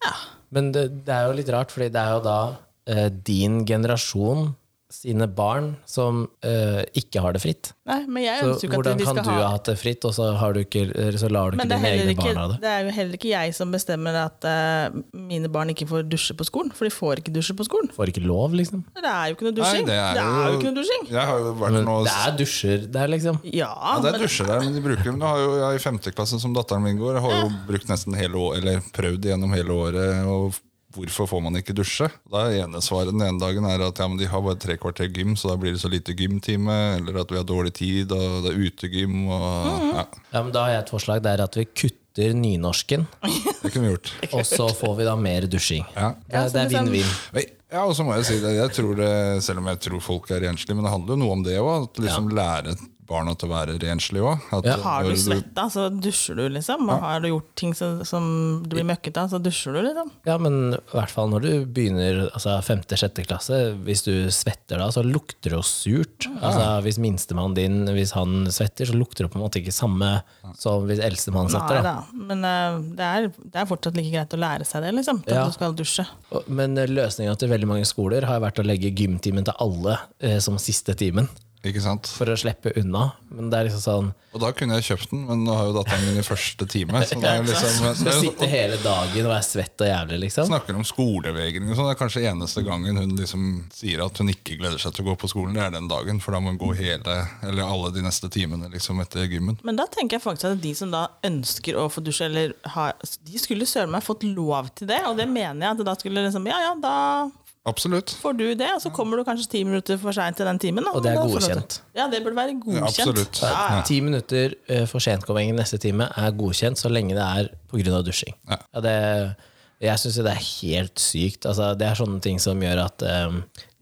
S2: ja,
S1: Men det, det er jo litt rart, fordi det er jo da eh, din generasjon sine barn som eh, ikke har det fritt.
S2: nei, men jeg
S1: Så
S2: ønsker jo ikke at
S1: hvordan
S2: de
S1: kan
S2: skal
S1: du
S2: ha
S1: ha hatt det fritt, og så, har du ikke, så lar du ikke
S2: Men det er,
S1: dine
S2: heller
S1: egne
S2: ikke,
S1: barn ha det?
S2: det er jo heller ikke jeg som bestemmer at eh, mine barn ikke får dusje på skolen, for de får ikke dusje på skolen.
S1: Får ikke lov, liksom?
S2: Det er jo ikke noe dusjing.
S3: Nei, det er,
S2: jo ikke noe dusjing.
S3: Jeg har jo vært
S1: Men
S3: noe
S1: det er dusjer der, liksom.
S2: Ja,
S3: Ja, det er
S2: men
S3: dusjer der, men de bruker dem. Du har jo, jeg er I femte klasse, som datteren min går, jeg har jo brukt nesten hele år, eller prøvd gjennom hele året. og Hvorfor får man ikke dusje? Da er ene svaret den ene dagen er at ja, men de har bare tre kvarter gym, så da blir det så lite gymtime. Eller at vi har dårlig tid, og det er utegym. Og,
S2: Mhm.
S3: ja,
S1: Ja, men da har jeg et forslag der at vi kutter nynorsken,
S3: det kunne vi gjort.
S1: og så får vi da mer dusjing.
S3: Ja.
S1: Det, det er
S2: sånn-
S1: vinn-vinn.
S3: Nei, Ja, og så må jeg si det, jeg tror det, selv om jeg tror folk er renslige, men det handler jo noe om det òg. Liksom Lære barna til å være renslige òg.
S1: Ja.
S2: har du svetta, så dusjer du, liksom. Og har du gjort ting som, som du blir møkket av, så dusjer du, liksom.
S1: Ja, men i hvert fall når du begynner altså femte-sjette klasse, hvis du svetter da, så lukter det jo surt. Altså Hvis minstemann din hvis han svetter, så lukter det på en måte ikke samme som hvis eldstemann svetter.
S2: Nei
S1: da.
S2: da. Men eh, det, er, det er fortsatt like greit å lære seg det, liksom. At
S1: Ja.
S2: du skal dusje.
S1: Og- Men eh, løsninga til veldig mange skoler har vært å legge gymtimen til alle eh, som siste timen,
S3: Ikke sant?
S1: for å slippe unna. Men det er liksom sånn
S3: Og da kunne jeg kjøpt den, men nå har jo datteren min i første time. Så det er jo liksom, det
S1: Skal
S3: er jo,
S1: sitte hele dagen og være svett og jævlig, liksom.
S3: snakker om skolevegring og sånn. Det er kanskje eneste gangen hun liksom sier at hun ikke gleder seg til å gå på skolen. Det er den dagen, for da må hun gå hele, eller alle de neste timene liksom etter gymmen.
S2: Men da tenker jeg faktisk at de som da ønsker å få dusje, eller har, de skulle søren meg fått lov til det. Og det mener jeg at da skulle liksom Ja ja, da
S3: Absolutt.
S2: får du det, og så kommer du kanskje ti minutter for seint til den timen. Da.
S1: Og det er
S2: Da får du lov til-
S1: godkjent.
S2: Ja, det burde være godkjent.
S3: Absolutt.
S2: Ja, ja.
S1: Ti minutter eh, for sentkomming neste time er godkjent så lenge det er pga. dusjing.
S3: Ja.
S1: Ja, det, jeg syns det er helt sykt. Altså, det er sånne ting som gjør at eh,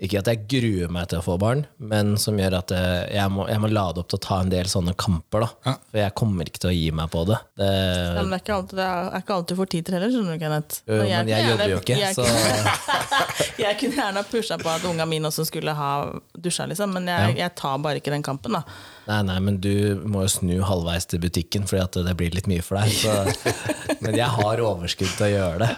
S1: Ikke at jeg gruer meg til å få barn, men som gjør at eh, jeg, må, jeg må lade opp til å ta en del sånne kamper. Da.
S3: Ja.
S1: For jeg kommer ikke til å gi meg på det. det
S2: Ja, men det er ikke alltid, det er er ikke alltid du får tid til heller, skjønner du, Kenneth.
S1: jo,
S2: Og
S1: jo, men
S2: kunne
S1: jeg jobber jo
S2: gjerne-
S1: ikke,
S2: jeg,
S1: så
S2: jeg kunne gjerne ha pusha på at unga mine også skulle ha dusja, liksom, men jeg, jeg tar bare ikke den kampen, da.
S1: Nei, nei, men du må jo snu halvveis til butikken, fordi at det blir litt mye for deg. Så. Men jeg har overskudd til å gjøre det.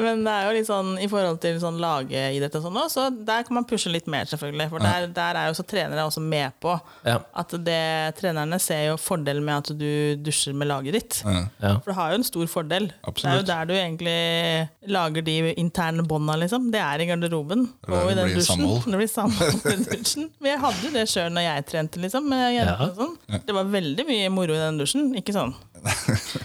S2: Men det er jo litt sånn i forhold til sånn lagidrett og sånn også, så der kan man pushe litt mer, selvfølgelig. For der, der er jo så trenere også med på
S1: Ja.
S2: at det, trenerne ser jo fordelen med at du dusjer med laget ditt.
S3: Ja.
S1: Ja.
S2: For det har jo en stor fordel.
S3: Absolutt.
S2: Det er jo der du egentlig lager de interne bånda, liksom. Det er i garderoben
S3: er der
S2: og i
S3: det
S2: den
S3: blir
S2: dusjen.
S3: samhold.
S2: Det blir samhold i dusjen. Men jeg hadde jo det sjøl når jeg trente, liksom. Med jenter
S1: Ja.
S2: og sånn. Det var veldig mye moro i den dusjen. Ikke sånn.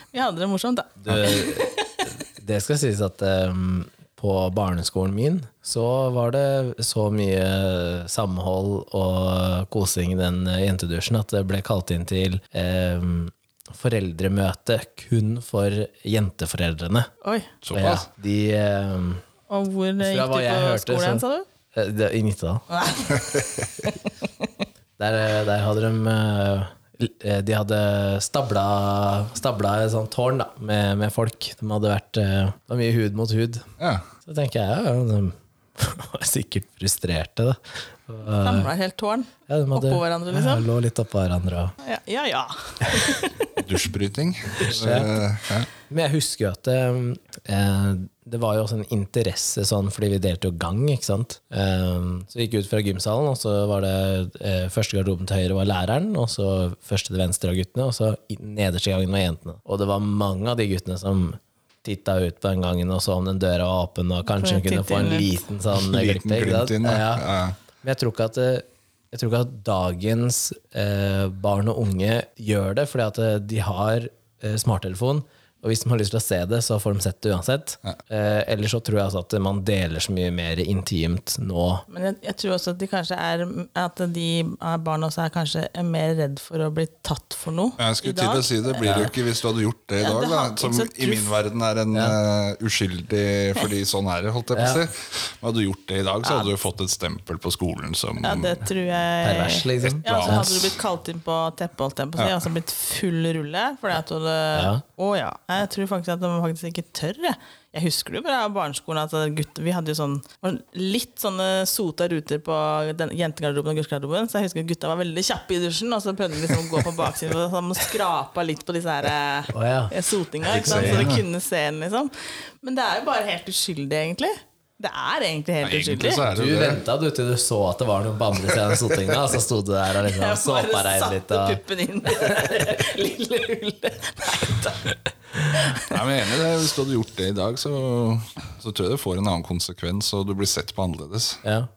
S2: Vi hadde det morsomt, da.
S1: Det, det skal sies at em, på barneskolen min så var det så mye samhold og kosing i den eh, jentedusjen at det ble kalt inn til em, foreldremøte kun for jenteforeldrene.
S2: Oi.
S1: Ja,
S3: Såpass.
S1: de em,
S2: Og hvor eh,
S1: Fra
S2: gikk du
S1: hva
S2: på
S1: jeg hørte,
S2: skolen,
S1: så-
S2: sa du?
S1: eh, det- I Nittedal.
S2: Nei.
S1: Der, eh, der hadde de eh, l- eh, De hadde stabla, stabla et sånt tårn da, med, med folk. De hadde vært eh, Det var mye hud mot hud.
S3: Ja.
S1: Så tenker jeg ja, ja, de var sikkert frustrerte, da. Og,
S3: Eh.
S2: Samla et helt tårn.
S1: Ja, de hadde,
S2: Oppå hverandre,
S1: Ja,
S2: liksom?
S1: lå litt oppå hverandre. og-
S2: Ja, ja. ja.
S3: Dusjbryting. Eh, ja.
S1: Men jeg husker jo at eh, eh, det var jo også en interesse sånn, fordi vi delte jo gang, ikke sant. Ehm, så vi gikk ut fra gymsalen, og så var det eh, første garderoben til høyre var læreren, og så første til venstre av guttene, og så i- nederste gangen var jentene. Og det var mange av de guttene som titta ut på den gangen og så om den døra var åpen, og kanskje hun
S2: For å
S1: kunne
S2: titte
S1: få en
S2: inn litt.
S1: liten sånn
S3: Liten
S1: glipp. ikke sant?
S3: glimt inn, da.
S1: Ja.
S3: Ja.
S1: Men jeg tror ikke at, eh, jeg tror ikke at dagens eh, barn og unge gjør det, fordi at eh, de har eh, smarttelefon. Og hvis de har lyst til å se det, så får de sett det uansett. Eh, Eller så tror jeg altså at man deler så mye mer intimt nå.
S2: Men jeg, jeg tror også at de kanskje er At de er barna også er kanskje er mer redd for å bli tatt for noe
S3: Jeg skulle til å si det blir det jo ikke hvis du hadde gjort det i
S2: Ja,
S3: dag,
S2: det
S3: da,
S2: har ikke
S3: som
S2: så
S3: i min
S2: tuff-
S3: verden er en eh, uskyldig fordi sånn er det, holdt jeg på å si. Men Hadde du gjort det i dag, så hadde du fått et stempel på skolen som
S2: Ja, det tror jeg
S1: Pervers, liksom.
S2: Eh, Ja, så hadde du blitt kalt inn på teppet, holdt jeg på å si. Altså blitt full rulle. Fordi at du hadde
S1: Ja.
S2: Å ja. Jeg tror faktisk at de faktisk ikke tør, jeg. Jeg husker det fra barneskolen at gutter, vi hadde jo sånn var litt sånne sota ruter på den jentegarderoben og guttegarderoben. Så jeg husker at gutta var veldig kjappe i dusjen, og så prøvde de liksom å gå på baksiden og sånn, og skrapa litt på disse her eh,
S1: Å ja.
S2: eh, sotinga,
S3: Fikk
S2: ikke sant?
S3: se
S2: så
S3: igjen,
S2: de
S3: sånn, ja.
S2: kunne se den, liksom. Men det er jo bare helt uskyldig, egentlig. Det er egentlig helt
S3: Nei, egentlig
S2: uskyldig.
S3: så er
S1: Du
S3: det jo det.
S1: venta du til du så at det var noen bamler i sotinga, og så sto du der og liksom
S2: Jeg
S1: såpa
S2: bare
S1: deg
S2: satte
S1: litt. Og...
S2: puppen inn i det der lille hullet. Nei da.
S3: Nei, men jeg er enig i det. Hvis du hadde gjort det i dag, så, så tror jeg det får en annen konsekvens, og du blir sett på annerledes.
S1: Ja.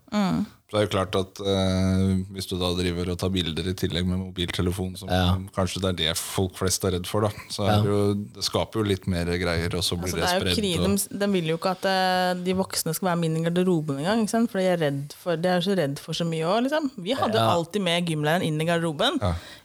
S3: For det er jo klart at eh, Hvis du da driver og tar bilder i tillegg med mobiltelefon, som kanskje det er det folk flest er redd for, da, så er det, jo, det skaper jo litt mer greier, og så blir
S2: Altså,
S3: det,
S2: det er jo kri,
S3: spredd.
S2: de,
S3: Og,
S2: de vil jo ikke at eh, de voksne skal være min i garderoben engang. ikke sant? For de er, redd for, de er så redd for så mye òg, liksom. Vi hadde jo
S1: Ja.
S2: alltid med gymlæreren inn i garderoben.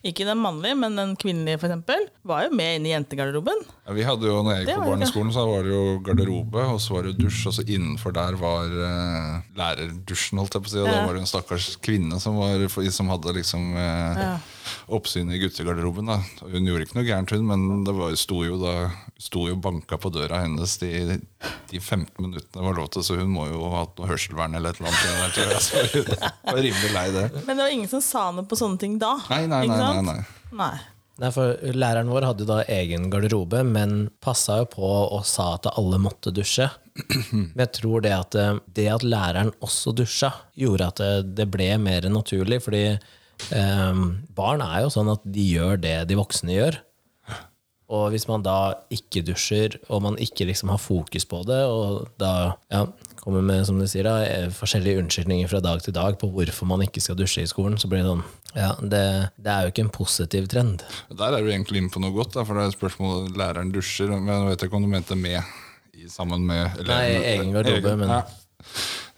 S2: Ikke den mannlige, men den kvinnelige, for eksempel, var jo med inn i jentegarderoben.
S3: ja, vi hadde jo, når jeg
S2: Det
S3: gikk på
S2: var det.
S3: barneskolen, så var det jo garderobe, og så var det dusj, og så innenfor der var eh, lærerdusjen, holdt jeg på å si, og da
S2: Ja.
S3: var det jo en stakkars kvinne som, var, som hadde liksom eh, oppsyn i guttegarderoben. da. Og Hun gjorde ikke noe gærent, hun, men det var, sto jo da sto jo banka på døra hennes de, de 15 minuttene det var lov til, så hun må jo ha hatt noe hørselvern eller et eller annet. til det Der, tror jeg. Så hun var rimelig lei det.
S2: Men det var ingen som sa noe på sånne ting da.
S3: Nei, nei,
S2: ikke
S3: nei.
S2: sant?
S3: nei, nei.
S2: Nei.
S1: Nei, for Læreren vår hadde jo da egen garderobe, men passa jo på og sa at alle måtte dusje. Men jeg tror det at, eh, det at læreren også dusja, gjorde at eh, det ble mer naturlig. Fordi eh, barn er jo sånn at de gjør det de voksne gjør. Og hvis man da ikke dusjer, og man ikke liksom har fokus på det, og da ja, kommer med som du sier da, eh, forskjellige unnskyldninger fra dag til dag på hvorfor man ikke skal dusje i skolen, så blir det sånn Ja, det, det er jo ikke en positiv trend.
S3: Der er du egentlig inne på noe godt, da, for det er spørsmålet læreren dusjer. Men jeg vet ikke om du mente med i sammen med eller-
S1: Nei, egen garderobe, men-
S3: ja.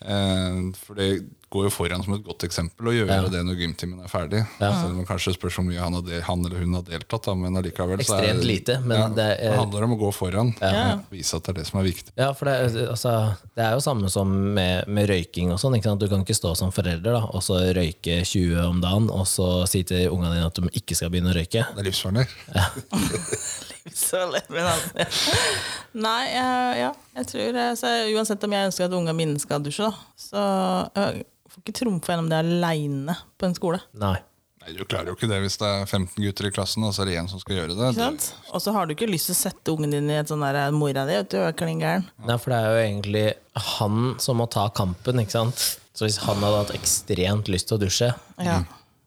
S3: Eh, For det går jo foran som et godt eksempel å gjøre det når gymtimen er ferdig. Selv om det kanskje spørs hvor mye han, har del, han eller hun har deltatt, da, men allikevel så er
S1: Ekstremt lite, men det er-
S3: handler om å gå foran. Ja. Vise at det er det som er viktig.
S1: Ja, for det, er- altså, det er jo samme som med, med røyking og sånn. ikke sant? Du kan ikke stå som forelder da, og så røyke 20 om dagen, og så si til ungene dine at de ikke skal begynne å røyke.
S3: Det er livsfarlig.
S2: Så lett, men altså. Nei, jeg, ja, jeg tror eh, så Uansett om jeg ønsker at ungene mine skal dusje, da, så jeg får ikke trumfe gjennom det aleine på en skole.
S1: Nei.
S3: Nei, Du klarer jo ikke det hvis det er 15 gutter i klassen, og så er det én som skal gjøre
S2: Ikke
S3: det. det.
S2: sant? Og så har du ikke lyst til å sette ungen din i et sånn der mora di, vet du, er klin gæren.
S1: Nei, for det er jo egentlig han som må ta kampen, ikke sant? Så hvis han hadde hatt ekstremt lyst til å dusje,
S2: Ja.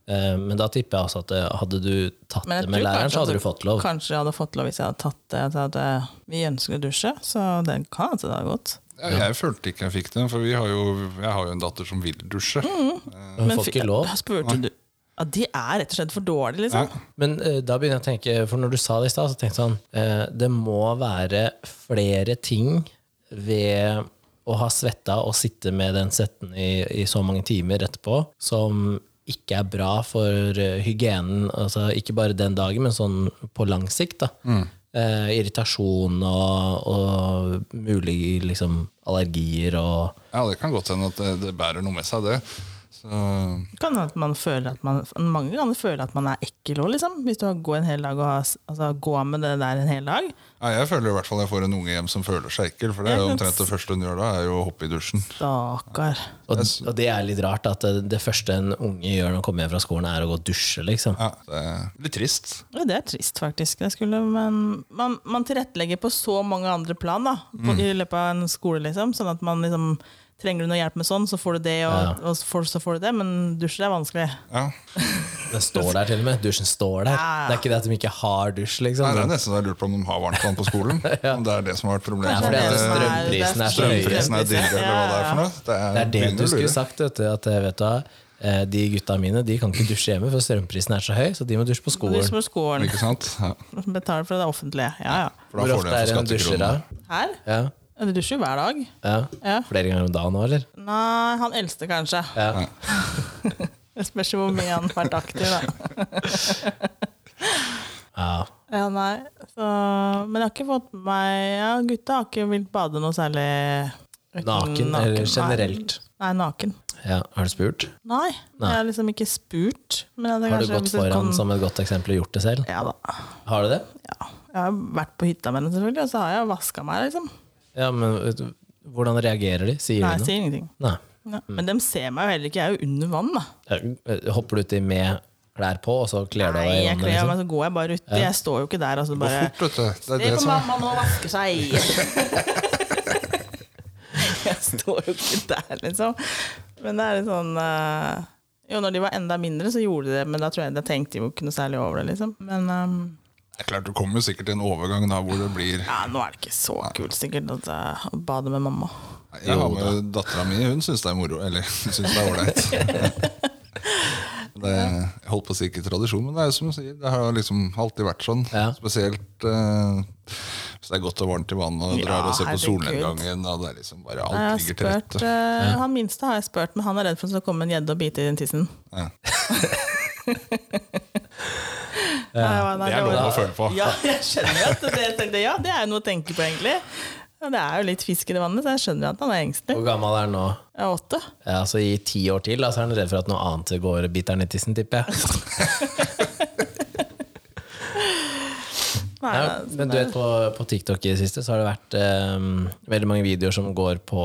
S1: eh, men da tipper jeg altså at eh, hadde du tatt
S2: Men jeg
S1: Mm. det med
S2: tror
S1: læreren,
S2: kanskje
S1: så hadde
S2: at-
S1: du fått lov.
S2: Kanskje jeg hadde fått lov hvis jeg hadde tatt det. at jeg hadde- vi ønsker å dusje, så det kan hende det hadde gått.
S3: Ja, Jeg følte ikke jeg fikk det, for vi har jo, jeg har jo en datter som vil dusje.
S1: Du får
S2: fi-
S1: ikke lov.
S2: jeg spurte du ja, De er rett og slett for dårlige, liksom.
S3: Ja.
S1: Men eh, da begynner jeg å tenke, for når du sa det i stad, så tenkte jeg sånn eh, Det må være flere ting ved å ha svetta og sitte med den svetten i, i så mange timer etterpå, som ikke er bra for eh, hygienen, altså ikke bare den dagen, men sånn på lang sikt. da. Eh, irritasjon og, og mulig liksom, allergier og
S3: Ja, det kan godt hende at det, det bærer noe med seg, det. Så
S2: Det kan hende at man føler at man mange ganger føler at man er ekkel òg, liksom. Hvis du har gå en hel dag og har, altså, gå med det der en hel dag.
S3: ja, jeg føler i hvert fall jeg får en unge hjem som føler seg ekkel, for det er jo omtrent det første hun gjør da, er jo å hoppe i dusjen.
S2: Stakkar.
S1: Og, og det er litt rart at det, det første en unge gjør når han kommer hjem fra skolen, er å gå og dusje, liksom.
S3: Ja, det er litt trist.
S2: Ja, det er trist, faktisk. Det skulle, men man, man tilrettelegger på så mange andre plan da, på, i løpet av en skole. liksom, sånn at man liksom, Trenger du noe hjelp med sånn, så får du det, og, og så, får, så får du det. Men dusjer er vanskelig.
S3: Ja.
S1: Den står der til og med. Dusjen står der.
S2: Ja.
S1: Det er ikke det at de ikke har dusj, liksom.
S3: Nei, det er nesten så jeg lurer på om de har varmtvann på skolen. Om det er det som har vært problemet.
S1: for det er
S3: Om
S1: det som er- strømprisen er så høy.
S3: Strømprisen er dyrere, eller hva det er for noe. Det er,
S1: Det er det
S3: begynner
S1: du
S3: å
S1: skulle
S3: lure.
S1: sagt, vet du. At eh, vet du hva, eh, de gutta mine de kan ikke dusje hjemme, for strømprisen er så høy, så de må dusje på
S2: Dusj
S1: skolen.
S2: på skolen.
S3: Ikke sant? Ja.
S2: Betaler for det offentlige. Ja, ja.
S3: For
S1: Hvor
S3: da får
S1: ofte
S3: de
S1: er
S3: en
S1: det en
S3: for
S1: dusjer da?
S3: skattekroner.
S2: Her?
S1: Ja,
S2: Ja, Du dusjer jo hver dag.
S1: ja.
S2: Ja.
S1: Flere ganger om dagen nå, eller?
S2: Nei, han eldste, kanskje.
S1: Ja.
S2: Det spørs jo hvor mye han har vært aktiv, da.
S1: ja.
S2: Ja, nei. Så, men jeg har ikke fått med meg ja, Gutta har ikke villet bade noe særlig uten
S1: Naken,
S2: Nei.
S1: eller generelt.
S2: Nei, naken.
S1: Ja. Har du spurt?
S2: Nei,
S1: Nei.
S2: jeg har liksom ikke spurt. Men jeg hadde
S1: Har du
S2: kanskje-
S1: gått
S2: hvis jeg
S1: foran
S2: kom-
S1: som et godt eksempel og gjort det selv?
S2: Ja da.
S1: Har du det?
S2: Ja. Jeg har vært på hytta med den, selvfølgelig, og så har jeg vaska meg, liksom.
S1: Ja, men vet du, hvordan reagerer de? Sier
S2: Nei, jeg
S1: de noe?
S2: sier ingenting.
S1: Nei.
S2: Ja. Men dem ser meg jo heller ikke, jeg er jo under vann, da.
S1: Ja, eh, Hopper du uti med klær på, og så kler du av
S2: Nei,
S1: deg i
S2: jeg
S1: vannet?
S2: kler av
S1: Liksom?
S2: meg, så går jeg bare uti. Jeg står jo ikke der, altså
S3: Gå
S2: bare
S3: fort, vet du. Det er
S2: Se
S3: sånn. det
S2: på
S3: som er
S2: mamma, nå vasker seg! jeg står jo ikke der, liksom. Men det er litt sånn eh, Jo, når de var enda mindre, så gjorde de det, men da tror jeg, da tenkte de jo ikke noe særlig over det, liksom. Men ehm,
S3: Det er klart, Du kommer jo sikkert til en overgang da hvor det blir
S2: Ja, nå er det ikke så kult sikkert at eh, å bade med mamma.
S3: Jeg har med dattera mi, hun syns det er moro. Eller hun syns det er ålreit. Det- Jeg holdt på å si ikke tradisjon, men det er jo som du sier. Det har liksom alltid vært sånn.
S1: Ja.
S3: Spesielt eh, hvis det er godt og varmt i vannet og
S2: Ja,
S3: drar og ser på
S2: herregud.
S3: solnedgangen. Og det er liksom bare
S2: Jeg
S3: alt
S2: har
S3: ligger til
S2: spurt,
S3: rette.
S2: eh, Han minste har jeg spurt, men han er redd for at det skal komme en gjedde og bite i den tissen.
S3: Ja.
S2: Nei, nei,
S3: Det er
S2: var-
S3: lov å føle på.
S2: Ja, jeg skjønner jo at det, tenkte, jeg, ja, det er jo noe å tenke på, egentlig. Ja, Det er jo litt fisk i det vannet, så jeg skjønner jo at han er engstelig.
S1: Hvor gammel er han nå?
S2: Jeg er åtte.
S1: Ja, så Eh, altså, I ti år til da, så er han redd for at noe annet går og biter han i tissen, tipper jeg.
S2: Nei,
S1: Ja,
S2: nei,
S1: men du vet, på, på TikTok i det siste så har det vært eh, veldig mange videoer som går på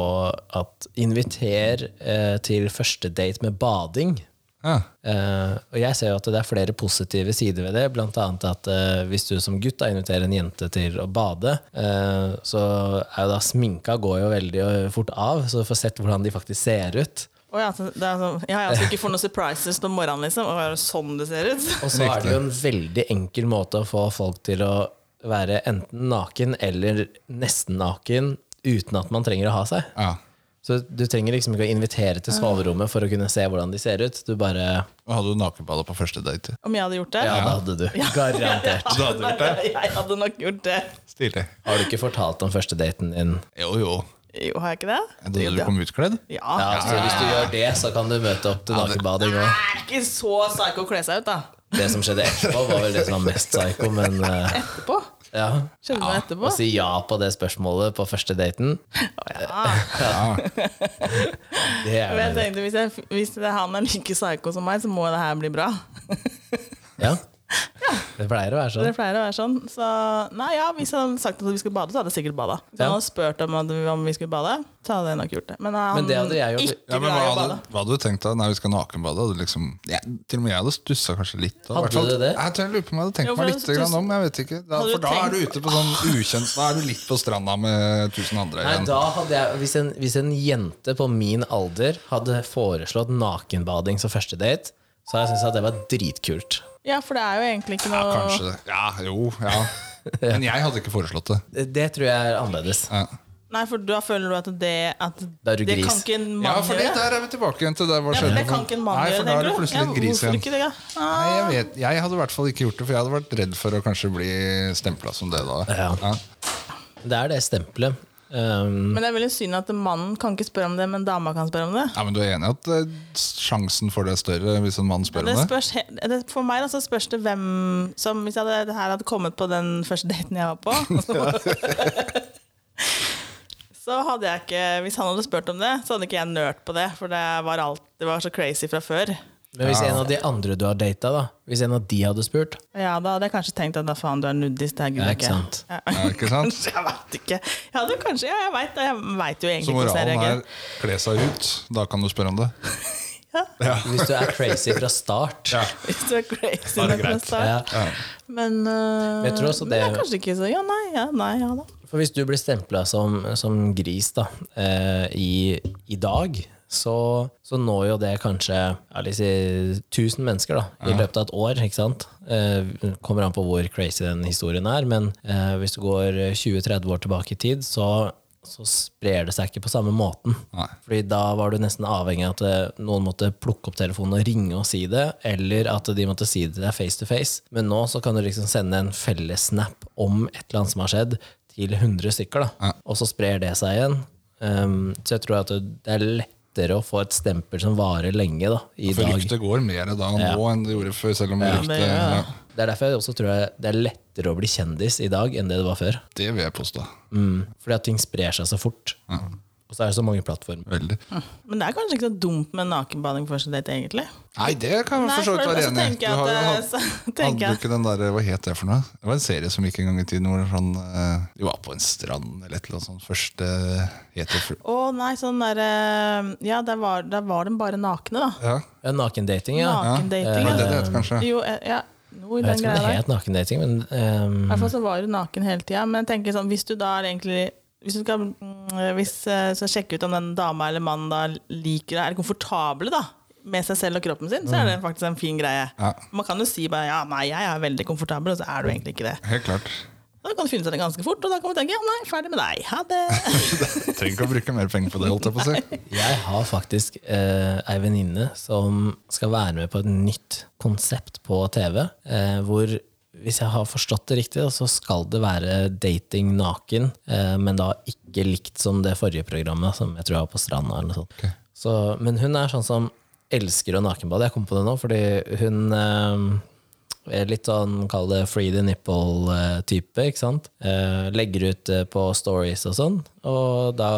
S1: at inviter eh, til første date med bading.
S3: Ja.
S1: Eh, og jeg ser jo at det er flere positive sider ved det, blant annet at eh, hvis du som gutt da inviterer en jente til å bade, eh, så er jo da sminka går jo veldig fort av, så du får sett hvordan de faktisk ser ut.
S2: Å ja, så det er sånn, ja, ja, så ikke får noen surprises på morgenen, liksom. Å, er det sånn det ser ut?
S1: Og så er det jo en veldig enkel måte å få folk til å være enten naken eller nesten naken uten at man trenger å ha seg.
S3: ja.
S1: Så du trenger liksom ikke å invitere til soverommet for å kunne se hvordan de ser ut. Du bare
S3: Og hadde du nakenbada på første date?
S2: Om jeg hadde gjort det?
S1: Ja, det hadde du. Garantert.
S3: Du hadde gjort det?
S2: Jeg hadde nok gjort det.
S3: Stilig.
S1: Har du ikke fortalt om første daten din?
S3: Jo, jo.
S2: Jo, har jeg ikke det?
S3: Da du kom utkledd?
S2: Ja.
S1: Ja, så hvis du gjør det, så kan du møte opp til nakenbading òg.
S2: Det er ikke så psycho å kle seg ut, da.
S1: Det som skjedde etterpå, var vel det som var mest psycho, men eh,
S2: Etterpå.
S1: ja.
S2: Skjønner du meg
S1: Å
S2: etterpå?
S1: si ja på det spørsmålet på første daten, det er
S2: Men jeg
S1: jo
S2: tenkte, hvis, jeg, hvis det er han er like psycho som meg, så må det her bli bra.
S1: Ja. Det pleier å være sånn.
S2: Det pleier å være sånn. Så nei, ja, hvis han hadde sagt at vi skulle bade, så hadde jeg sikkert bada. Hvis
S1: Ja.
S2: han hadde spurt om, at vi- om vi skulle bade, så hadde jeg nok gjort det. Men eh, han
S1: Men det hadde jeg gjort.
S2: ikke
S3: Ja, men
S2: glad
S3: hva
S2: i å
S3: hadde,
S2: bade.
S3: hva hadde du tenkt da? Nei, vi skal nakenbade. Hadde du Liksom, ja, til og med jeg hadde stussa kanskje litt. Da.
S1: Hadde du det?
S3: Jeg tror jeg lurer på om jeg hadde tenkt
S2: Jo, for
S3: meg
S2: jeg
S3: litt grann
S2: stuss-
S3: om. jeg vet ikke. Da,
S2: Hadde du
S3: for da er du
S2: tenkt-
S3: ute på sånn ukjent Da er du litt på stranda med tusen andre
S1: Nei,
S3: igjen.
S1: da hadde jeg, hvis, en, hvis en jente på min alder hadde foreslått nakenbading som første date, så hadde jeg syntes at det var dritkult.
S2: Ja, for det er jo egentlig ikke
S3: Ja,
S2: noe
S3: kanskje det. Ja, jo, ja. Men jeg hadde ikke foreslått det.
S1: Det, det tror jeg er annerledes.
S3: Ja,
S2: Nei, for da føler du at det at
S1: Da er du
S2: Det kan
S1: gris.
S2: ikke en mann
S3: ja for det,
S2: gjøre.
S3: der er vi tilbake igjen til det.
S2: Ja,
S3: Hva
S2: for
S3: skjedde
S2: det kan ikke en mann
S3: Nei,
S2: gjøre,
S3: for da er
S2: tenker
S3: du
S2: du?
S3: plutselig
S2: Ja,
S3: litt gris
S2: hvorfor
S3: igjen.
S2: ikke det? Ja. Ah,
S3: Nei, jeg vet, jeg hadde i hvert fall ikke gjort det, for jeg hadde vært redd for å kanskje bli stempla som det da.
S1: Ja. Det er det stempelet. Um,
S2: Men det er veldig synd at mannen kan ikke spørre om det, men dama kan spørre om det.
S3: Ja, men du er enig i at eh, sjansen for det er større hvis en mann spør
S2: Det
S3: om det?
S2: spørs, he- det, for meg da, så spørs det hvem som Hvis jeg hadde, det her hadde kommet på den første daten jeg var på så hadde jeg ikke Hvis han hadde spurt om det, så hadde ikke jeg nølt på det, for det var, alt, det var så crazy fra før.
S1: Men hvis en av de andre du har data, da Hvis en av de hadde spurt
S2: Ja, da hadde jeg kanskje tenkt at da faen, du er nudist, det her gidder
S1: Ja,
S2: jeg
S1: ikke
S2: ikke.
S1: sant.
S2: Ja.
S3: Ja, ikke sant?
S2: Kanskje, jeg vet ikke. Jeg hadde kanskje, ja, jeg vet, det, jeg vet jo
S3: Så
S2: egentlig ikke hvordan jeg
S3: moralen er
S2: reagerer.
S3: kle seg ut. Da kan du spørre om det.
S1: Hvis du er crazy fra start.
S3: Ja.
S2: Hvis du er crazy
S3: Da er det
S2: nok fra
S3: greit.
S2: start.
S1: Ja.
S2: Men, øh,
S1: Jeg tror også
S2: men
S1: det-
S2: er kanskje ikke så Ja, nei, ja, nei, ja da.
S1: For hvis du blir stempla som, som gris da, eh, i, i dag, så, så når jo det kanskje ja, la oss si, 1000 mennesker da, i løpet av et år. ikke sant? Eh, kommer an på hvor crazy den historien er, men eh, hvis du går 20-30 år tilbake i tid, så, så sprer det seg ikke på samme måten.
S3: Nei.
S1: Fordi da var du nesten avhengig av at eh, noen måtte plukke opp telefonen og ringe og si det, eller at de måtte si det til deg face to face. Men nå så kan du liksom sende en fellessnap om et eller annet som har skjedd, til 100 stykker, da. Og så sprer det seg igjen. Um, så jeg tror at det er lettere å få et stempel som varer lenge da, i
S3: For
S1: dag.
S3: ryktet går mer da nå enn det gjorde før, selv om ryktet
S2: men, ja.
S3: ja,
S1: Det er derfor jeg også tror jeg det er lettere å bli kjendis i dag enn det det var før.
S3: Det vil jeg påstå.
S1: Mm. Fordi at ting sprer seg så fort. Og så er det så mange plattformer.
S3: Veldig.
S2: Men det er kanskje ikke så dumt med nakenbading på første date, egentlig.
S3: Nei, det kan jeg
S2: Nei,
S3: for så vidt
S2: for-
S3: være
S2: så
S3: enig i.
S2: tenker
S3: Du
S2: jeg
S3: har jo
S2: at, eh,
S3: hatt-
S2: så
S3: Hadde
S2: tenker
S3: du
S2: jeg
S3: ikke den der, Hva het det for noe? Det var en serie som gikk en gang i tiden hvor han, eh, de var på en strand eller et eller annet sånt. Første heterofru...
S2: Å nei, sånn derre Ja, der var, der var de bare nakne, da.
S3: Ja,
S1: Ja, Nakendating, ja.
S3: det
S2: Nakendating. Ja.
S3: var det det het, kanskje?
S2: Jo, eh, ja. Noe i
S1: Jeg vet
S2: den
S1: ikke om det
S2: greia der.
S1: het nakendating, men
S2: I
S1: um,
S2: hvert fall så var du naken hele tida. Men jeg tenker sånn, hvis du da er egentlig Hvis du skal mm, hvis, eh, så sjekke ut om den dama eller mannen da liker deg, er komfortable da med seg selv og kroppen sin, så er det faktisk en fin greie.
S3: Ja.
S2: Man kan jo si bare ja, nei, jeg er veldig komfortabel, og så er du egentlig ikke det.
S3: helt klart.
S2: Da kan du finne seg det ganske fort, og da kan man tenke ja, nei, ferdig med deg. Ha det.
S3: Trenger ikke å bruke mer penger på det, holdt jeg på å si.
S1: Jeg har faktisk eh, ei venninne som skal være med på et nytt konsept på TV. Eh, hvor, hvis jeg har forstått det riktig, da, så skal det være dating naken, eh, men da ikke likt som det forrige programmet, som jeg tror jeg var på Stranda. eller noe sånt. Så, men hun er sånn som elsker å nakenbade. Jeg kom på det nå, fordi hun eh, er Litt sånn, kall det free the nipple-type, ikke sant? Eh, legger ut eh, på stories og sånn, og da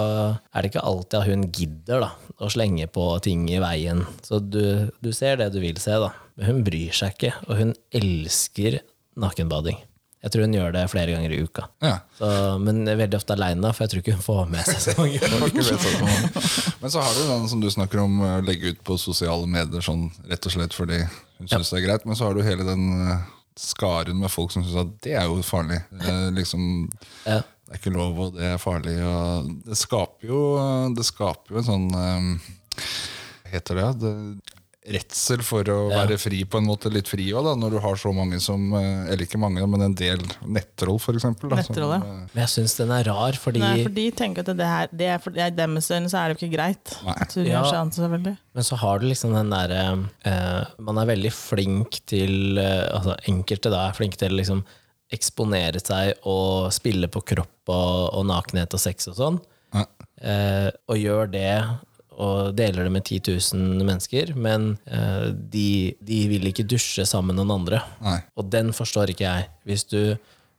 S1: er det ikke alltid at hun gidder da, å slenge på ting i veien. Så du, du ser det du vil se, da. Men hun bryr seg ikke, og hun elsker nakenbading. Jeg tror hun gjør det flere ganger i uka.
S3: Ja.
S1: Så, men veldig ofte aleine, for jeg tror ikke hun får med seg så mange.
S3: Det var ikke det jeg sa på. Men så har du den som du snakker om, eh, legge ut på sosiale medier sånn rett og slett fordi hun syns det er greit, men så har du hele den eh, skaren med folk som syns at det er jo farlig. Eh, liksom
S1: Ja.
S3: det er ikke lov, og det er farlig. Og det skaper jo, det skaper jo en sånn eh, Hva heter det? det redsel for å være fri, på en måte litt fri òg, når du har så mange som eh, Eller ikke mange, men en del nettroll, for eksempel. da, som,
S2: Nettroll,
S3: eh,
S1: Men jeg syns den er rar, fordi
S2: Nei, for de tenker at det her, det er for i deres øyne så er det jo ikke greit.
S3: Nei.
S2: At hun
S1: Ja.
S2: gjør seg an, selvfølgelig.
S1: Men så har du liksom den derre eh, Man er veldig flink til eh, Altså enkelte da er flinke til å liksom eksponere seg og spille på kropp og, og nakenhet og sex og sånn.
S3: Ja.
S1: Eh, og gjør det og deler det med 10 000 mennesker, men eh, de, de vil ikke dusje sammen med noen andre.
S3: Nei.
S1: Og den forstår ikke jeg. Hvis du,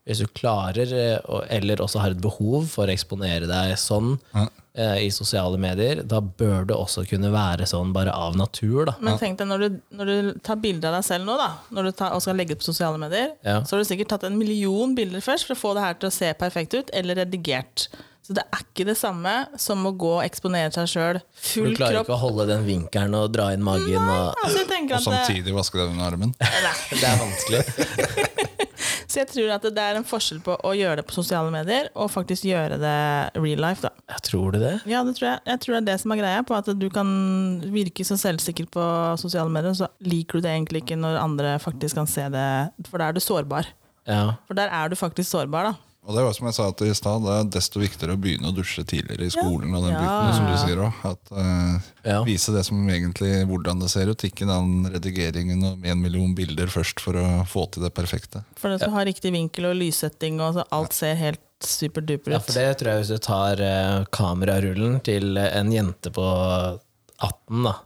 S1: hvis du klarer, eh, og- eller også har et behov for å eksponere deg sånn eh, i sosiale medier, da bør det også kunne være sånn bare av natur, da.
S2: Men tenk deg, når du, når du tar bilder av deg selv nå, da, når du tar, og skal legge det på sosiale medier,
S1: Ja.
S2: så har du sikkert tatt en million bilder først for å få det her til å se perfekt ut, eller redigert. Så det er ikke det samme som å gå og eksponere seg sjøl
S1: Du
S2: full
S1: klarer ikke
S2: kropp.
S1: å holde den vinkelen og dra inn magen. Og,
S2: Altså, jeg tenker
S3: Og
S2: at det,
S3: samtidig vaske deg under armen.
S1: det er vanskelig.
S2: eh, så jeg tror at det er en forskjell på å gjøre det på sosiale medier og faktisk gjøre det real life. da.
S1: Jeg tror du det?
S2: Ja, det tror jeg. jeg tror det er det som er greia, på at du kan virke så selvsikker på sosiale medier, så liker du det egentlig ikke når andre faktisk kan se det, for da er du sårbar.
S1: Ja.
S2: For der er du faktisk sårbar, da.
S3: Og det var som jeg sa til i stad, det er desto viktigere å begynne å dusje tidligere i skolen. og den
S2: Ja.
S3: biten som du sier også, at eh,
S1: Ja.
S3: Vise det som egentlig hvordan det ser ut, ikke den redigeringen og en million bilder først for å få til det perfekte.
S2: For det skal ha riktig vinkel og lyssetting, og så alt ser helt superduper ut.
S1: Ja, for det tror jeg hvis du tar eh, kamerarullen til en jente på 18 da,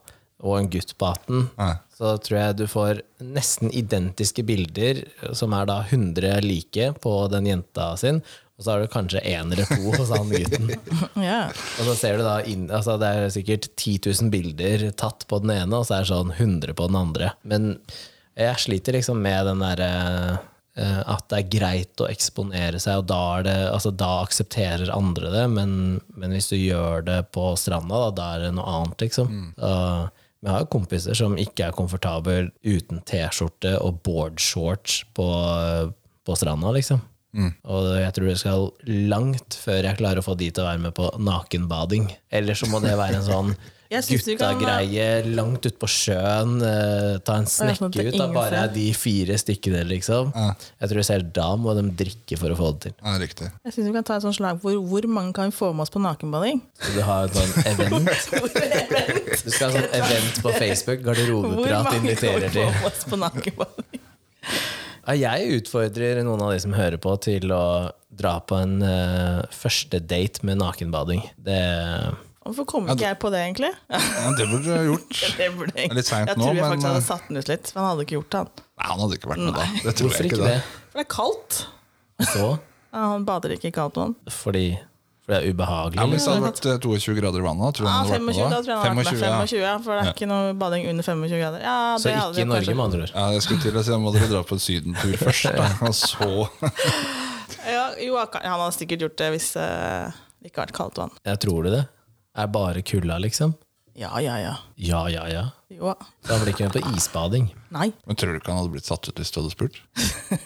S1: og en gutt på 18,
S3: Ja.
S1: så tror jeg du får nesten identiske bilder, som er da 100 like på den jenta sin, og så har du kanskje én eller to hos han gutten.
S2: Ja.
S1: Og så ser du da inn, altså Det er sikkert 10 000 bilder tatt på den ene, og så er det sånn 100 på den andre. Men jeg sliter liksom med den derre eh, at det er greit å eksponere seg, og da, er det, altså da aksepterer andre det. Men, men hvis du gjør det på stranda, da, da er det noe annet, liksom. Da- men jeg har jo kompiser som ikke er komfortable uten T-skjorte og boardshorts på, på stranda, liksom.
S2: Mm.
S1: Og jeg tror det skal langt før jeg klarer å få de til å være med på nakenbading. Eller så må det være en sånn
S2: Jeg synes du kan- eh,
S1: gutta-greie langt ute på sjøen. eh, ta en
S2: sånn at
S1: snekke
S2: det er
S1: ut av
S2: ingen
S1: bare
S2: ser.
S1: de fire stykkene, liksom. Jeg tror selv da må de drikke for å få det til.
S3: Ja, riktig.
S2: Jeg syns vi kan ta et sånt slag hvor, hvor mange kan vi få med oss på nakenbading?
S1: Så du har et sånn event. Du skal ha sånn event på Facebook. Garderobeprat inviterer til.
S2: med oss på nakenbading?
S1: Ja, jeg utfordrer noen av de som hører på, til å dra på en eh, første date med nakenbading. Det
S2: Hvorfor kom ikke jeg på det, egentlig?
S3: Ja, det burde du ha gjort.
S2: Det burde jeg-
S3: Det er litt sent
S2: jeg
S3: nå,
S2: tror jeg
S3: men- eh,
S2: faktisk hadde satt den ut litt. For han hadde ikke gjort det, han.
S3: Nei, han hadde ikke vært med da. Det tror
S1: Hvorfor
S3: jeg
S1: ikke
S3: ikke.
S1: det?
S2: For det er kaldt.
S1: Så?
S2: Ja, han bader ikke i kaldt vann.
S1: Fordi, fordi det er ubehagelig? liksom.
S3: Ja, men Hvis
S1: eller?
S3: det hadde vært eh, 22 grader i vannet, tror jeg
S2: Ja,
S3: han hadde vært
S2: 25,
S3: med
S2: da
S3: da.
S2: tror jeg han hadde vært med.
S3: 25,
S2: 25, ja, for det er ikke noe bading under 25 grader. Ja,
S1: så
S2: det hadde
S1: ikke i
S2: jeg
S1: Norge,
S2: kanskje-
S1: med andre ord.
S3: Ja, jeg skulle til å si, da må dere dra på en sydentur først, da. og så
S2: Ja, jo, han hadde sikkert gjort det hvis eh, det ikke hadde vært kaldt vann.
S1: Jeg tror du det? Er bare kulda, liksom?
S2: Ja, ja, ja.
S1: Ja, ja, ja.
S2: Jo.
S1: Da blir ikke med på isbading.
S2: Nei.
S3: Men tror du ikke han hadde blitt satt ut hvis du hadde spurt?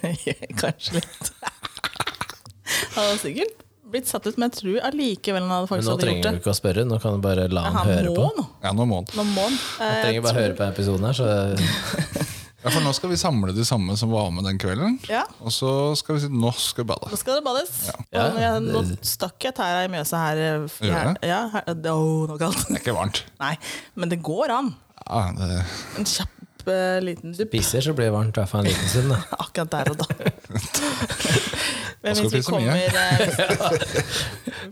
S2: Kanskje litt. Han hadde sikkert blitt satt ut, men jeg tror allikevel han hadde
S1: Men
S2: faktisk
S1: nå
S2: hadde sånn gjort
S1: trenger du
S2: det.
S1: ikke å spørre, nå kan du bare la han,
S2: Han
S1: høre
S2: må
S1: på.
S2: nå.
S3: Ja, nå må han.
S2: Nå må han.
S1: Du
S2: Eh,
S1: trenger bare høre på episoden her, så
S3: Ja, for nå skal vi samle de samme som var med den kvelden.
S2: Ja.
S3: Og så skal vi si nå skal vi
S2: nå
S3: bade.
S2: skal det bades.
S1: Ja.
S2: Og når jeg, nå stakk jeg tæra i Mjøsa her. eh, f-
S3: Gjør
S2: her
S3: det?
S2: ja, her, det oh, noe kaldt.
S3: Det er ikke varmt.
S2: Nei, men det går an.
S3: Ja, det,
S2: En kjapp eh, liten dupp
S1: pisser, så blir det varmt i hvert fall en liten stund. da.
S2: akkurat der og da. Men
S3: skal
S2: hvis vi
S3: pisse mye.
S2: kommer eh,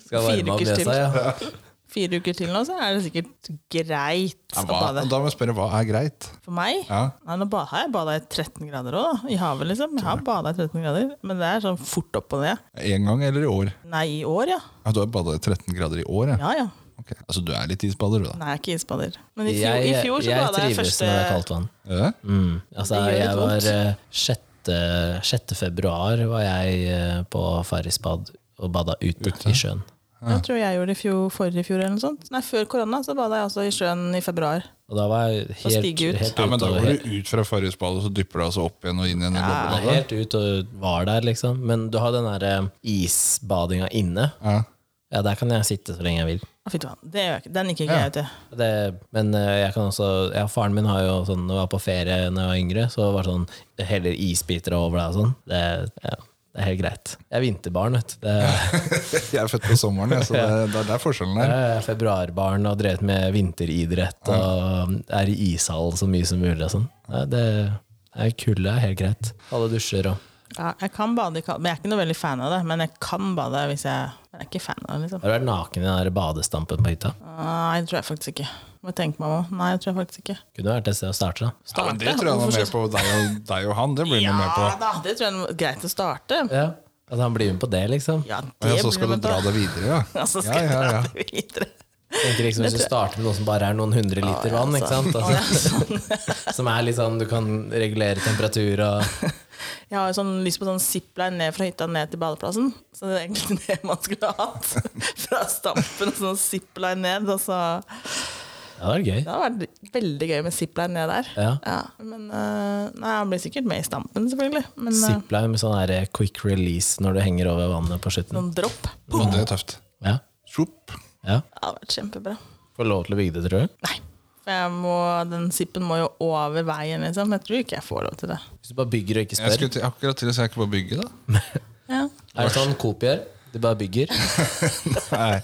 S1: Skal varme opp
S2: ukers
S1: nesa,
S2: til.
S1: ja.
S2: fire uker til nå, så er det sikkert greit
S3: ja,
S2: å
S3: hva,
S2: bade.
S3: da må jeg spørre hva er greit?
S2: For meg
S3: Ja.
S2: Nei, nå ba, har jeg bada i 13 grader òg, da. I havet, liksom. Jeg har bada i 13 grader. Men det er sånn fort opp og ned.
S3: En gang eller i år?
S2: Nei, i år, ja.
S3: Ja, du har badet i 13 grader i år, ja.
S2: Ja ja.
S3: Ok. Altså du er litt isbader, du da.
S2: Nei, jeg er ikke isbader. Men i fjor,
S1: Jeg,
S2: i fjor så
S1: jeg
S2: bada jeg
S1: trives
S2: første
S1: når det er kaldt vann.
S3: Ja.
S1: Mm. Altså,
S2: Det gjør
S1: jeg
S2: litt
S1: var
S2: vondt.
S1: eh, 6. 6. februar var jeg eh, på Farrisbad og bada ute, i sjøen.
S2: Jeg tror jeg gjorde det i fjor, forrige fjor eller noe sånt. Nei, før korona så bada jeg også i sjøen i februar.
S1: Og da var jeg
S2: Og
S1: helt,
S2: stige ut.
S1: helt
S3: Ja, men da
S1: ute. og-
S3: går du ut fra Farrisbadet, og så dypper du altså opp igjen og inn igjen i
S1: Ja,
S3: boblebadet.
S1: helt ut og var der, liksom. Men du har den derre isbadinga inne.
S3: Ja.
S1: Ja, der kan jeg sitte så lenge jeg vil.
S2: Å, fy faen. Det gjør jeg ikke. Den gikk ikke
S3: Ja.
S2: jeg ut i.
S1: Det, men eh, jeg kan også ja, Faren min har jo sånn, når jeg var på ferie da jeg var yngre, så var det sånn heller isbiter over deg og sånn. Det, ja, det er helt greit. Jeg er vinterbarn, vet du. Det,
S3: Jeg er født på sommeren, jeg, så det, det er der forskjellen er.
S1: Jeg er februarbarn og drevet med vinteridrett og um, er i ishall så mye som mulig. Og sånn. Nei, det er kulde er helt greit. Alle dusjer og
S2: Ja, jeg kan bade i kaldt, men jeg er ikke noe veldig fan av det. Men jeg kan bade hvis jeg Jeg er ikke fan av det, liksom.
S1: Har du vært naken i den der badestampen på hytta?
S2: Nei, det tror jeg faktisk ikke. Må jeg tenke meg om. Nei, det tror jeg faktisk ikke.
S1: Kunne vært et sted å starte, da.
S3: Ja, men det tror jeg han er med på, deg og, deg og han. Det blir han
S2: Ja
S3: jo med på.
S2: da, det tror jeg er greit å starte.
S1: Ja. At Altså, han blir med på det, liksom.
S2: Ja,
S3: Og
S2: det
S3: ja, så skal du
S2: blir med
S3: dra
S2: på.
S3: det videre, ja.
S2: Og så
S3: Ja,
S2: skal jeg
S3: ja, ja.
S2: dra det videre.
S1: Tenker liksom Hvis du starter med noe som bare er noen hundre liter vann, ikke sant? Altså, som er litt sånn du kan regulere temperatur og
S2: Jeg har jo sånn lyst på sånn zipline ned fra hytta ned til badeplassen. Så det er egentlig det man skulle ha hatt. Fra stampen og sånn zipline ned. Og så,
S1: Ja, det er gøy.
S2: det hadde vært veldig gøy med zipline ned der.
S1: Ja.
S2: Ja, men eh, Nei, han blir sikkert med i stampen, selvfølgelig. Men eh,
S1: Zipline med sånn her quick release når du henger over vannet på slutten.
S2: noen dropp Det
S3: Men det er tøft.
S1: Ja.
S3: Sjopp.
S1: ja.
S2: hadde vært kjempebra.
S1: Får lov til å bygge det, tror du?
S2: Nei. For jeg må, den zippen må jo over veien, liksom. Jeg tror ikke jeg får lov til det.
S1: Hvis du bare bygger og ikke
S3: Jeg
S1: spør.
S3: skulle til, akkurat til å si jeg ikke på bygget, da.
S2: Ja.
S1: Er det sånn Coop gjør? De bare bygger.
S3: Nei,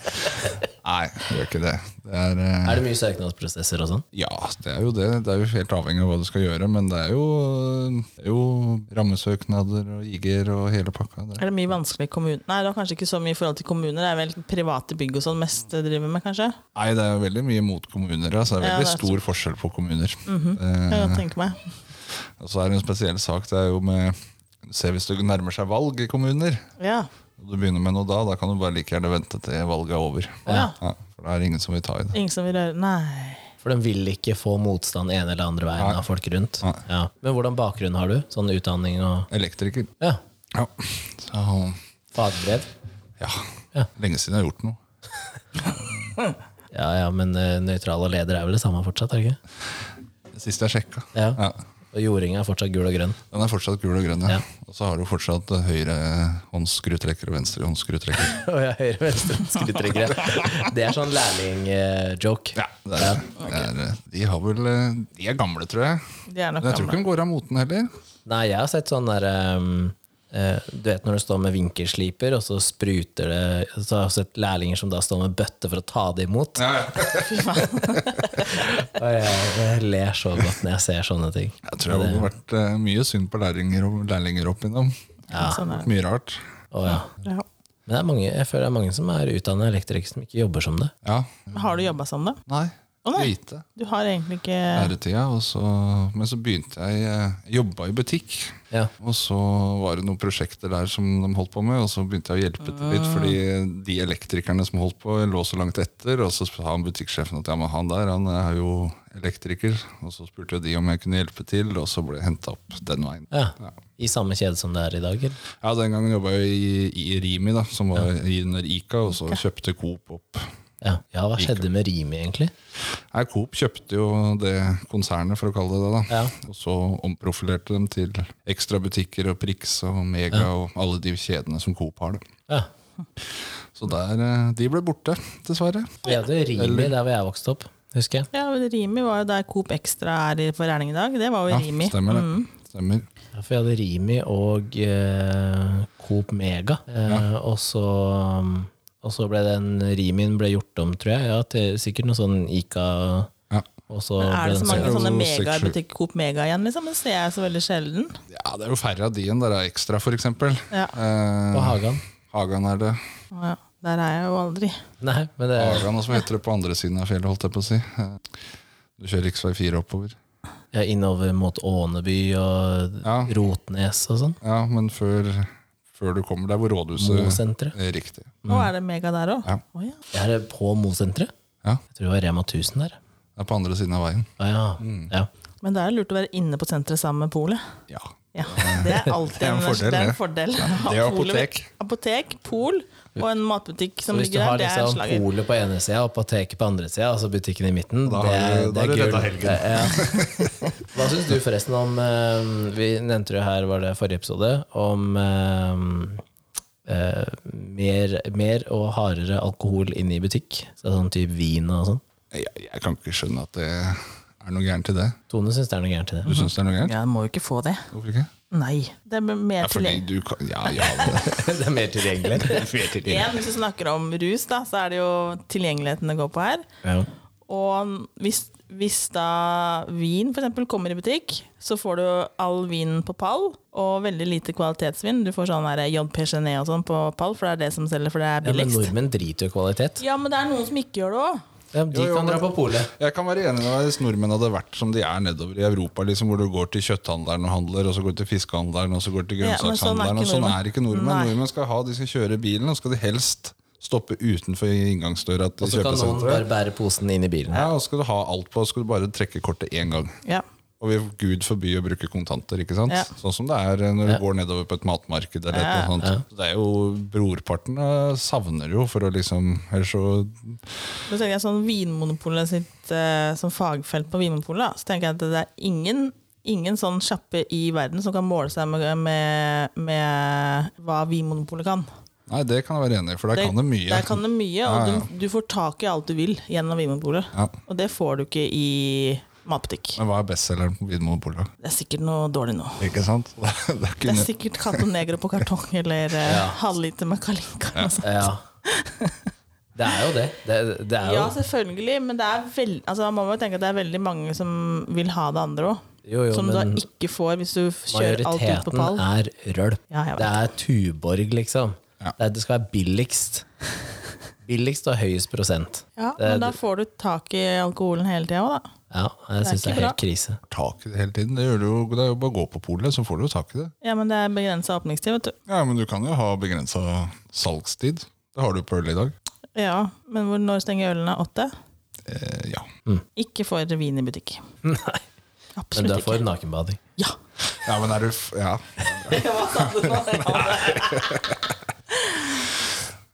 S3: Nei gjør ikke det. det er, eh,
S1: Er det mye søknadsprosesser og sånn?
S3: Ja, det er jo det. Det er jo helt avhengig av hva du skal gjøre, men det er jo, det er jo rammesøknader og IG-er og hele pakka. Det.
S2: Er det mye vanskelig i kommunen? Nei, det er kanskje ikke så mye i forhold til kommuner. Det er vel private bygg og sånn mest det driver med, kanskje?
S3: Nei, det er jo veldig mye mot kommuner. Altså. Det er
S2: Ja,
S3: veldig
S2: det er Mhm.
S3: stor forskjell på kommuner.
S2: Kan jeg
S3: eh,
S2: godt tenke meg.
S3: og så er det en spesiell sak. Det er jo med Se hvis du nærmer seg valg i kommuner,
S2: Ja.
S3: og du begynner med noe da, da kan du bare like gjerne vente til valget er over.
S2: ja.
S3: Ja, for da er det ingen som vil ta i det.
S2: Ingen som vil røre Nei.
S1: For de vil ikke få motstand ene eller andre veien av folk rundt.
S3: Nei.
S1: Ja. Men hvordan bakgrunn har du? Sånn utdanning og
S3: Elektriker.
S1: ja,
S3: Ja. Så,
S1: fagbrev?
S3: ja.
S1: Ja.
S3: Lenge siden jeg har gjort noe.
S1: Ja, ja, men eh, nøytrale ledere er vel det samme fortsatt? Er det ikke?
S3: Det siste jeg sjekka.
S1: Ja.
S3: Ja.
S1: Og jordinga er fortsatt gul og grønn.
S3: Den er fortsatt gul og grønn, ja.
S1: Ja.
S3: Og så har du fortsatt eh, høyre håndskrutrekker og venstre håndskrutrekker.
S1: Og jeg høyre venstre skrytryggere. Det er sånn lærling-joke.
S3: Ja, det er, det er, eh, de har vel eh, De er gamle, tror jeg.
S2: De er nok
S3: Men jeg tror ikke
S2: gamle.
S3: de går av moten heller.
S1: Nei, jeg har sett sånn der ehm, eh, Du vet når du står med vinkelsliper, og så spruter det Så har jeg sett lærlinger som da står med bøtte for å ta det imot. og jeg, jeg ler så godt når jeg ser sånne ting.
S3: Jeg tror det har vært eh, mye synd på lærlinger, og- lærlinger opp innom.
S2: Sånn er det.
S3: Mye rart.
S1: Å, ja.
S2: Ja.
S1: Men det er mange, jeg føler det er mange som er utdanna elektrikere som ikke jobber som det.
S3: Ja.
S2: Har du jobba som det?
S3: Nei.
S2: Å, nei.
S3: Lite.
S2: Du har egentlig ikke
S3: Æretida. og så- Men så begynte jeg eh, Jobba i butikk.
S1: Ja.
S3: Og så var det noen prosjekter der som de holdt på med, og så begynte jeg å hjelpe til
S1: Ah.
S3: litt, fordi de elektrikerne som holdt på, lå så langt etter, og så sa han butikksjefen at ja, men han der, han er jo elektriker, og så spurte jeg de om jeg kunne hjelpe til, og så ble jeg henta opp den veien.
S1: Ja. I samme kjede som det er i dag. eller?
S3: Ja, den gangen jobba jeg i, i Rimi, da, som var i- under Ica, og så kjøpte Coop opp.
S1: Ja. ja, hva skjedde med Rimi, egentlig?
S3: Nei, Coop kjøpte jo det konsernet, for å kalle det det, da.
S1: Ja.
S3: Og så omprofilerte dem til ekstrabutikker og Prix og Mega og alle de kjedene som Coop har, da.
S1: Ja.
S3: Så der, eh, de ble borte, dessverre.
S1: Vi hadde jo Rimi der hvor jeg vokste opp, husker jeg.
S2: Ja, men Rimi var jo der Coop Extra er i- for Erling i dag. Det var jo
S3: Ja,
S2: Rimi.
S3: stemmer det. Stemmer.
S1: Ja, for jeg hadde Rimi og eh, Coop Mega. Eh, og, så, og så ble den Rimin ble gjort om, tror jeg. Ja, til sikkert noe sånn Ica.
S3: Ja.
S1: Og så
S2: Mm. Er
S1: ble
S2: det så
S1: den
S2: mange
S1: solgt.
S3: jo
S2: sånne
S3: seks,
S2: mega
S3: sju.
S2: butikk Coop Mega igjen, liksom? Det ser jeg så veldig sjelden.
S3: ja, det er jo færre av de enn der er ekstra, for eksempel.
S2: Ja.
S1: på
S3: Eh,
S1: Hagan.
S3: Hagan er det.
S2: Å Ja, der er jeg jo aldri.
S1: Nei, men det,
S3: Hagan, og så heter det på andre siden av fjellet, holdt jeg på å si. Eh, Du kjører rv. 4 oppover.
S1: ja, innover mot Åneby og
S3: Ja.
S1: Rotnes og sånn.
S3: Ja, men før, før du kommer der hvor rådhuset
S1: Mosenteret.
S3: er riktig.
S2: Nå er det Mega der òg.
S3: Ja.
S2: ja.
S1: Er det på Mosenteret?
S3: Ja.
S1: Jeg tror det var Rema 1000 der.
S3: Det er på andre siden av veien.
S1: Ah, ja. ja.
S2: Men det er lurt å være inne på senteret sammen med polet.
S3: Ja.
S2: Ja, det er alltid
S3: er en
S2: en,
S3: fordel,
S2: det er
S3: det.
S2: en fordel.
S3: det er
S2: Ha polet
S3: apotek.
S2: vekk. Apotek, pol og en matbutikk
S1: Så
S2: som
S1: hvis du
S2: ligger
S1: har
S2: der. Det er en
S1: liksom
S2: slager.
S1: polet på ene sida og apoteket på andre sida, altså butikken i midten,
S3: Da har
S1: det
S3: du-
S1: er,
S3: da
S1: det er
S3: har du
S1: gull.
S3: redda helgen.
S1: Det er- Hva syns du forresten om eh, Vi nevnte det her, var det forrige episode, om eh, eh, mer, mer og hardere alkohol inne i butikk. Så sånn type vin og sånn.
S3: Jeg, jeg kan ikke skjønne at det er noe gærent i det.
S1: Tone syns det er noe gærent i det.
S3: Du syns det er noe gærent?
S2: Ja, en må jo ikke få det.
S3: Hvorfor ikke?
S2: Nei. Det er mer
S3: Ja, fordi
S2: tilgjengelig.
S3: du kan Ja, ja. men-
S1: det er mer tilgjengelig.
S2: Igjen, hvis du snakker om rus, da, så er det jo tilgjengeligheten det går på her.
S1: Ja.
S2: Og hvis, hvis da vin for eksempel kommer i butikk, så får du all vinen på pall, og veldig lite kvalitetsvin. Du får sånn der JP Genet og sånn på pall, for det er det som selger, for det er
S1: Ja, men
S2: billigst.
S1: nordmenn driter jo i kvalitet.
S2: Ja, men det er noen som ikke gjør det òg.
S1: Ja, de
S3: Jo, jo,
S1: kan dra
S3: men-
S1: på polet.
S3: Jeg kan være enig med deg hvis nordmenn hadde vært som de er nedover i Europa, liksom, hvor du går til kjøtthandleren og handler, og så går du til fiskehandleren, og så går du til
S2: Ja, men sånn er
S3: grønnsakshandleren, og
S2: ikke
S3: sånn
S2: nordmenn.
S3: er ikke nordmenn.
S2: Nei.
S3: Nordmenn skal ha, de skal kjøre bilen, og skal de helst stoppe utenfor inngangsdøra til
S1: Og så kan noen bare
S3: kjøpesenteret.
S1: bære posen inn i bilen.
S3: Ja, og skal du ha alt på, og skal du bare trekke kortet én gang.
S2: Ja.
S3: Og vi, Gud forby å bruke kontanter, ikke sant?
S2: Ja.
S3: Sånn som det er eh, når du går nedover på et matmarked eller
S2: Ja.
S3: noe sånt. Så Det er jo, brorparten eh, savner jo for å liksom, ellers så,
S2: Nå tenker jeg sånn Vinmonopolet sitt eh, som fagfelt på Vinmonopolet, da, så tenker jeg at det er ingen Ingen sånn sjappe i verden som kan måle seg med, med, med hva Vinmonopolet kan.
S3: nei, det kan jeg være enig i, for der
S2: Det-
S3: kan det mye.
S2: Der kan det mye,
S3: Ja, ja.
S2: og du, du får tak i alt du vil gjennom Vinmonopolet.
S3: Ja.
S2: Og det får du ikke i matbutikk.
S3: Men hva er bestselgeren på Vinmonopolet?
S2: Det er sikkert noe dårlig nå.
S3: Ikke sant? Det er
S2: Det
S3: ikke
S2: er
S3: nø-
S2: sikkert Cato Negro på kartong eller eh, halvliter med kalinka. eller noe sånt.
S1: Ja. Det er jo det. Det, det er jo
S2: Ja, selvfølgelig, men det er veld, altså, man må jo tenke at det er veldig mange som vil ha det andre òg.
S1: Jo, jo,
S2: Som du da
S1: men
S2: ikke får hvis du kjører alt ut på
S1: majoriteten
S2: pall.
S1: er rølp.
S2: Ja, jeg vet.
S1: Det er Tuborg, liksom.
S3: Ja.
S1: Det, er, det skal være billigst. Billigst og høyest prosent.
S2: Ja, men da får du tak i alkoholen hele tida òg, da.
S1: Ja, jeg syns det er
S2: ikke bra.
S1: helt krise.
S3: tak i det hele tiden. Det, gjør du jo, det er jo bare å gå på polet, så får du jo tak i det.
S2: Ja, men det er begrensa åpningstid, vet du.
S3: Ja, Men du kan jo ha begrensa salgstid. Det har du på øl i dag.
S2: Ja, Men hvor, når stenger ølene? Åtte?
S3: Eh, ja.
S2: Ikke for vin i butikk.
S1: Nei, men du
S2: Absolutt
S1: er for
S2: ikke.
S1: nakenbading.
S2: Ja!
S3: ja, men er du f Ja.
S2: Hva sa du nå? Ja,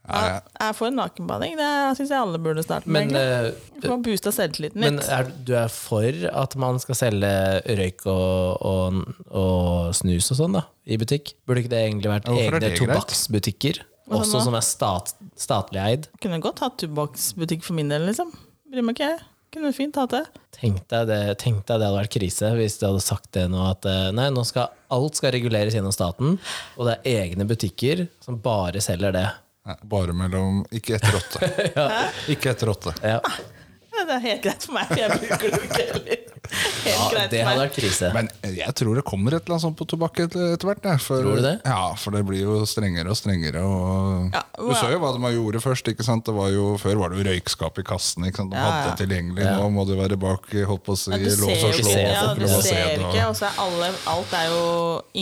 S3: Ja,
S2: Jeg er for nakenbading. Det syns jeg alle burde starte
S1: Men,
S2: med. egentlig.
S1: eh,
S2: For å booste selvtilliten
S1: men eh,
S2: litt.
S1: er, du er for at man skal selge røyk og, og, og snus og sånn da, i butikk? Burde ikke det egentlig vært
S3: Ja, hvorfor er
S1: egne
S3: det greit?
S1: tobakksbutikker?
S2: Hva
S1: Også
S2: da?
S1: som er stat, statlig eid?
S2: Kunne godt hatt tobakksbutikk for min del, liksom. Bryr meg ikke. jeg. Kunne fint hatt det.
S1: Tenk deg, det, tenk deg det hadde vært krise hvis de hadde sagt det nå at eh, nei, nå skal, alt skal reguleres gjennom staten, og det er egne butikker som bare selger det.
S3: Nei, Bare mellom Ikke etter åtte. Ikke etter åtte.
S1: Ja,
S2: Ja, Det er helt greit for meg, for jeg bruker det ikke heller. Helt
S1: ja
S2: Ah, greit
S1: Det
S2: for
S1: hadde
S2: meg.
S1: vært krise.
S3: Men jeg tror det kommer et eller annet sånt på tobakk et- etter hvert. jeg, For,
S1: Tror du det?
S3: Ja, for det blir jo strengere og strengere. Og
S2: Ja,
S3: du så jo hva de gjorde først. ikke sant? Det var jo, før var det jo røykskap i kassen. ikke sant? De
S2: Ja,
S3: hadde
S2: ja.
S3: det tilgjengelig. Nå må du være bak holdt på å si,
S2: Ja, du ser
S3: lås
S2: jo
S3: og slå. altså,
S2: ikke, ja,
S1: for
S2: du
S1: blå
S2: ser
S3: og-
S2: ikke og så er alle, alt er jo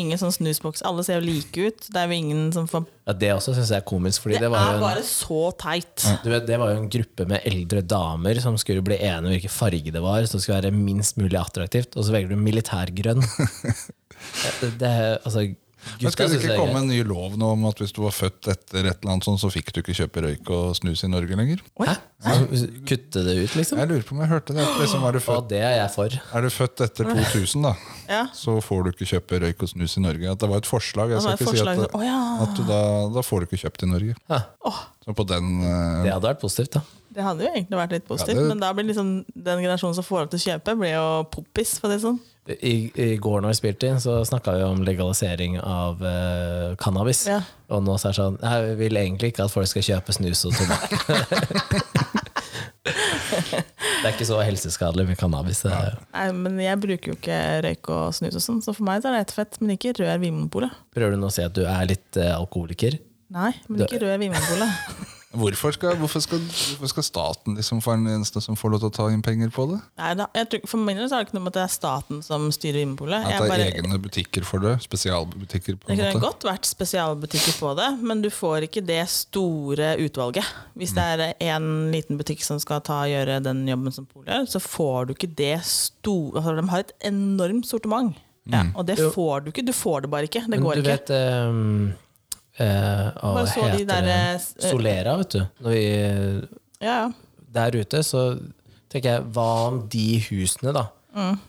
S2: ingen sånn snusboks. Alle ser jo like ut. Det er jo ingen som får
S1: Ja, det også syns jeg er komisk, fordi
S2: Det
S1: det
S2: er
S1: var jo en
S2: bare så teit.
S1: Du vet, det var jo en gruppe med eldre damer som skulle bli enige om hvilken farge det var, så det skulle være minst mulig attraktivt, og så velger du militærgrønn. det, det, er- altså,
S3: Men
S1: gutta
S3: skal det
S1: synes det
S3: ikke
S1: er
S3: komme
S1: greit.
S3: en ny lov nå om at hvis du var født etter et eller annet sånt, så fikk du ikke kjøpe røyk og snus i Norge lenger?
S1: Hæ? Så Kutte det ut, liksom?
S3: Jeg lurer på om jeg hørte det. at Liksom, er, du født,
S1: Og det er jeg for.
S3: er du født etter 2000, da,
S2: Ja.
S3: så får du ikke kjøpe røyk og snus i Norge. At det var et forslag. Jeg
S2: Det var
S3: skal
S2: et
S3: ikke si at,
S2: forslag,
S3: det,
S2: å ja.
S3: at du da, da får du ikke kjøpt i Norge. Så på den eh,
S1: Det hadde vært positivt, da.
S2: Det hadde jo egentlig vært litt positivt,
S3: Ja, det-
S2: men da blir liksom den generasjonen som får lov til å kjøpe, blir jo poppis. For det er sånn.
S1: I, I går når vi spilte inn, så snakka vi om legalisering av eh, cannabis.
S2: Ja.
S1: Og nå så er det sånn Nei, vi vil egentlig ikke at folk skal kjøpe snus og tobakk. det er ikke så helseskadelig med cannabis. Det er jo
S2: Nei, men jeg bruker jo ikke røyk og snus og sånn, så for meg så er det helt fett. Men ikke rør Vinmonopolet.
S1: Prøver du nå å si at du er litt eh, alkoholiker?
S2: Nei, men ikke rør Vinmonopolet.
S3: Hvorfor skal, hvorfor skal, hvorfor skal staten liksom være den eneste som får lov til å ta inn penger på det?
S2: Nei, da, jeg tror, for min del så er det ikke noe med at det er staten som styrer Vinmonopolet.
S3: At
S2: Jeg
S3: det er
S2: bare-
S3: egne butikker for det? Spesialbutikker? på
S2: Det
S3: en
S2: kunne
S3: måte
S2: godt vært spesialbutikker på det, men du får ikke det store utvalget. Hvis det er én liten butikk som skal ta og gjøre den jobben som Polet gjør, så får du ikke det store altså, De har et enormt sortiment,
S1: Mm.
S2: ja, og det
S1: Jo.
S2: får du ikke. Du får det bare ikke. Det
S1: Men
S2: går
S1: du
S2: ikke.
S1: vet ehm, eh, Hva
S2: Bare så de
S1: heter
S2: der, eh, s-
S1: det? Solera, vet du. Når vi,
S2: Ja, ja.
S1: der ute, så tenker jeg Hva om de husene, da?
S2: Mm.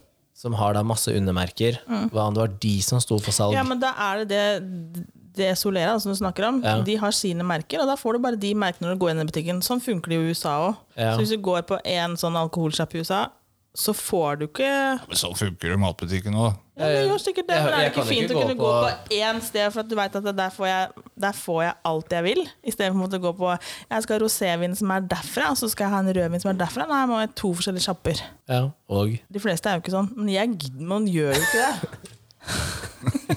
S1: Som har da masse undermerker. Hva om det var de som sto for salg?
S2: ja, men da er det det det Solera som du snakker om,
S1: Ja.
S2: de har sine merker, og da får du bare de merkene når du går inn i butikken. Sånn funker det jo i USA òg.
S1: Ja.
S2: Så hvis du går på én sånn alkoholsjapp i USA, så får du ikke
S3: Men sånn funker det i matbutikken òg.
S2: Ja, det gjør sikkert det,
S1: Jeg-
S2: men er
S1: jeg
S2: det ikke
S1: kan
S2: fint
S1: ikke
S2: å
S1: gå
S2: kunne gå
S1: på-
S2: på én sted, for at du vet at det- der får jeg, der får jeg alt jeg vil, istedenfor å gå på jeg skal ha rosévin som er derfra, og så skal jeg ha en rødvin som er derfra. Nei, jeg må ha to forskjellige sjapper.
S1: Ja, og
S2: De fleste er jo ikke sånn, men jeg gidder, man gjør jo ikke det.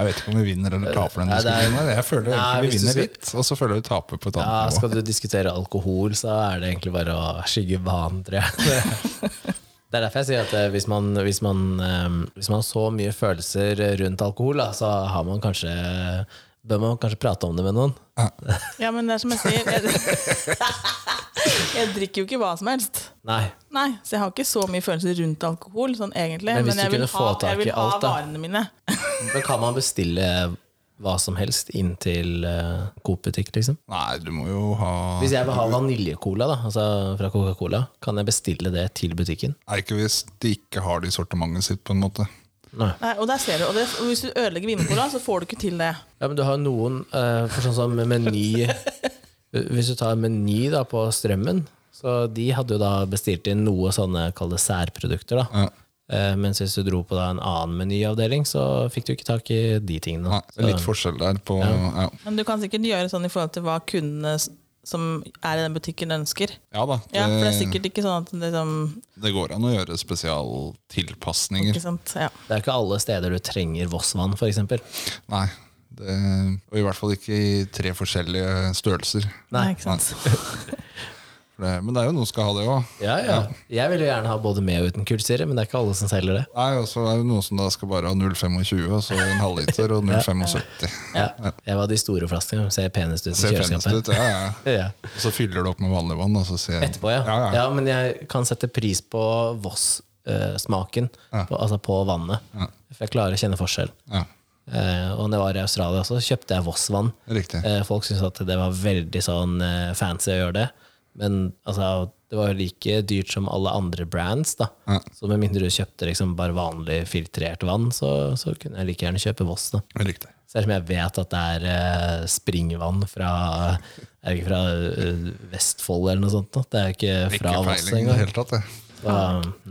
S3: Jeg vet ikke om vi vinner eller taper den
S1: Nei, det er-
S3: diskusjonen. her. Jeg føler
S1: Nei,
S3: egentlig vi
S1: hvis du
S3: vinner
S1: skal-
S3: litt, og så føler jeg vi taper på et
S1: ja,
S3: annet
S1: Skal du diskutere alkohol, så er det egentlig bare å skygge vanen, tror jeg. Det er derfor jeg sier at eh, hvis man, hvis, man, ehm, hvis man har så mye følelser rundt alkohol, da, så har man kanskje, bør man kanskje prate om det med noen.
S2: Ja, men det er som jeg sier, jeg, jeg drikker jo ikke hva som helst.
S1: Nei,
S2: Nei, så jeg har ikke så mye følelser rundt alkohol, sånn egentlig.
S1: Men
S2: Men,
S1: hvis
S2: jeg
S1: du
S2: vil
S1: kunne få
S2: ha,
S1: tak
S2: jeg
S1: i
S2: vil ha
S1: alt, da.
S2: varene mine.
S1: Men kan man bestille hva som helst inn til eh, Coop-butikk, liksom?
S3: nivå. Nei, du må jo ha
S1: Hvis jeg vil ha vaniljecola da, altså fra Coca-Cola, kan jeg bestille det til butikken?
S3: Er ikke hvis de ikke har det i sortimentet sitt, på en måte.
S1: Nei.
S2: Nei, og der ser du, og, det, og hvis du ødelegger vinmonopolet, så får du ikke til det.
S1: Ja, men du har noen, eh, for sånn som meny Hvis du tar meny da på strømmen, Så de hadde jo da bestilt inn noe sånne kall det særprodukter, da.
S3: Ja.
S1: Eh, mens hvis du dro på da en annen menyavdeling, så fikk du ikke tak i de tingene.
S3: Nei,
S1: da.
S3: det er litt forskjell der på ja.
S2: Men du kan sikkert gjøre sånn i forhold til hva kundene s- som er i den butikken, ønsker.
S3: ja da,
S2: Ja, For det er
S3: det,
S2: sikkert ikke sånn at det liksom,
S3: det går an å gjøre spesialtilpasninger.
S2: ikke sant? Ja.
S1: Det er ikke alle steder du trenger Voss-vann, for eksempel.
S3: Nei. Det, og i hvert fall ikke i tre forskjellige størrelser.
S2: Nei, ikke sant?
S3: For det, men det er jo noen som skal ha det òg.
S1: Ja, ja. Jeg vil jo gjerne ha både med og uten kullsyre, men det er ikke alle som selger det.
S3: Og så er det noen som da skal bare ha 0,25, og så en halvliter og 0,75.
S1: Ja. Jeg var de store flaskene, de ser penest ut i
S3: Ser penest
S1: kjøleskapet.
S3: ut. Ja, ja.
S1: Ja.
S3: Og så fyller du opp med vanlig vann. Og så ser,
S1: Etterpå, ja.
S3: Ja,
S1: Ja,
S3: ja.
S1: Men jeg kan sette pris på Voss-smaken, på, altså på vannet. For jeg klarer å kjenne forskjell.
S3: Ja,
S1: Eh, og når jeg var i Australia også, kjøpte jeg Voss-vann.
S3: Riktig.
S1: Eh, folk syntes at det var veldig sånn eh, fancy å gjøre det, men altså, det var jo like dyrt som alle andre brands. da.
S3: Ja.
S1: Så med mindre du kjøpte liksom bare vanlig filtrert vann, så, så kunne jeg like gjerne kjøpe Voss. da.
S3: Riktig.
S1: Selv om jeg vet at det er eh, springvann fra er det ikke fra eh, Vestfold eller noe sånt. Da. Det er ikke fra
S3: Ikke
S1: Voss
S3: peiling i det
S1: engang.
S3: hele tatt. det.
S1: Så,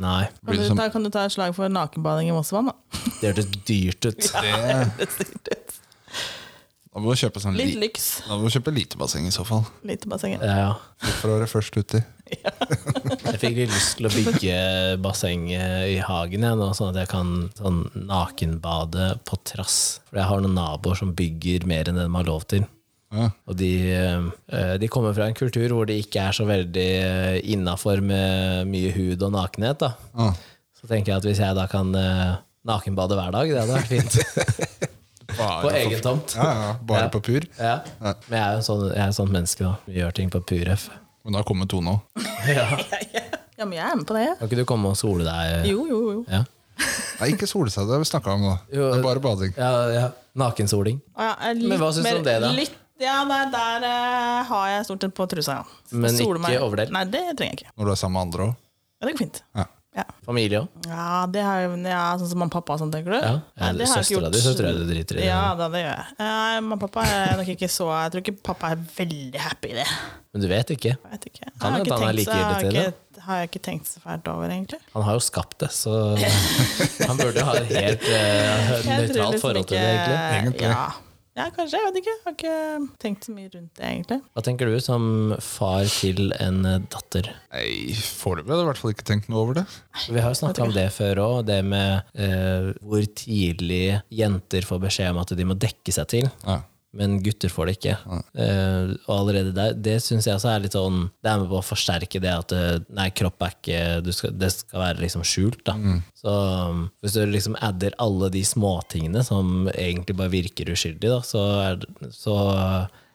S1: Nei,
S2: Kan
S3: Blir
S2: du,
S3: det som-
S2: ta, kan du ta et slag for nakenbading i Mossevann, da?
S1: det hørtes dyrt ut.
S3: Det,
S2: Det ser ut.
S3: da må du kjøpe sånn
S2: Litt
S3: li,
S2: lyks.
S3: da må du kjøpe lite basseng i så fall.
S2: Lite bassenget.
S1: Ja,
S3: For å være først uti.
S1: jeg fikk litt lyst til å bygge basseng i hagen igjen, nå, sånn at jeg kan sånn, nakenbade på trass. For jeg har noen naboer som bygger mer enn det de har lov til.
S3: Ja.
S1: Og de, eh, de kommer fra en kultur hvor det ikke er så veldig eh, innafor med mye hud og nakenhet. da.
S3: Ja.
S1: Så tenker jeg at hvis jeg da kan eh, nakenbade hver dag, det hadde vært fint.
S3: Bare
S1: På egen tomt.
S3: Ja, ja, bare
S1: Ja.
S3: på pur.
S1: Ja. Men jeg er jo en sånn, jeg er en sånn menneske, da. Vi gjør ting på pur F.
S3: Men da kommer Tone òg.
S2: Ja, men jeg er med på det. jeg.
S1: Kan ikke du komme og sole deg? eh?
S2: Jo, jo, jo.
S1: Ja.
S3: Nei, ikke solseg, det har vi snakka om nå. Det
S1: Jo.
S3: er bare bading.
S1: Ja, ja. Nakensoling.
S2: Å, ja, jeg er litt
S1: Men hva syns du
S2: mer-
S1: om det, da?
S2: Litt, ja, nei, der eh, har jeg stort sett på trusa, ja.
S1: Men
S2: Soler
S1: ikke
S2: meg.
S1: overdel?
S2: Nei, det trenger jeg ikke.
S3: Når du er sammen med andre òg.
S2: Ja, det går fint.
S3: Ja.
S2: Ja.
S1: Familie òg.
S2: Ja, det har jeg, ja, sånn som mamma og pappa og sånn, tenker du?
S1: Ja.
S2: Nei, det har jeg ikke
S1: Søstera
S2: gjort.
S1: di så tror jeg du driter i det.
S2: Ja, da, det gjør jeg. Nei, mamma og pappa er nok ikke så Jeg tror ikke pappa er veldig happy i det.
S1: Men du vet ikke.
S2: Jeg vet ikke. Jeg
S1: Kan
S2: har
S1: hende
S2: ikke
S1: han er
S2: tenkt
S1: like
S2: så- jeg har
S1: irritert i det.
S2: ikke- har jeg ikke tenkt så fælt over, egentlig.
S1: Han har jo skapt det, så han burde jo ha et helt eh,
S2: Jeg tror
S1: nøytralt
S2: liksom
S1: forhold til det,
S2: ikke-
S1: egentlig.
S3: egentlig.
S2: Ja. ja, kanskje. Jeg vet ikke. Jeg har ikke tenkt så mye rundt det, egentlig.
S1: Hva tenker du som far til en eh, datter?
S3: Nei, foreløpig har jeg i hvert fall ikke tenkt noe over det.
S1: Vi har jo snakka om det før òg, det med eh, hvor tidlig jenter får beskjed om at de må dekke seg til.
S3: Ja.
S1: Men gutter får det ikke. Eh, og allerede der, det syns jeg også er litt sånn Det er med på å forsterke det at eh, nei, kropp er ikke du skal, Det skal være liksom skjult, da. Så um, hvis du liksom adder alle de småtingene som egentlig bare virker uskyldig, da, så er, det- så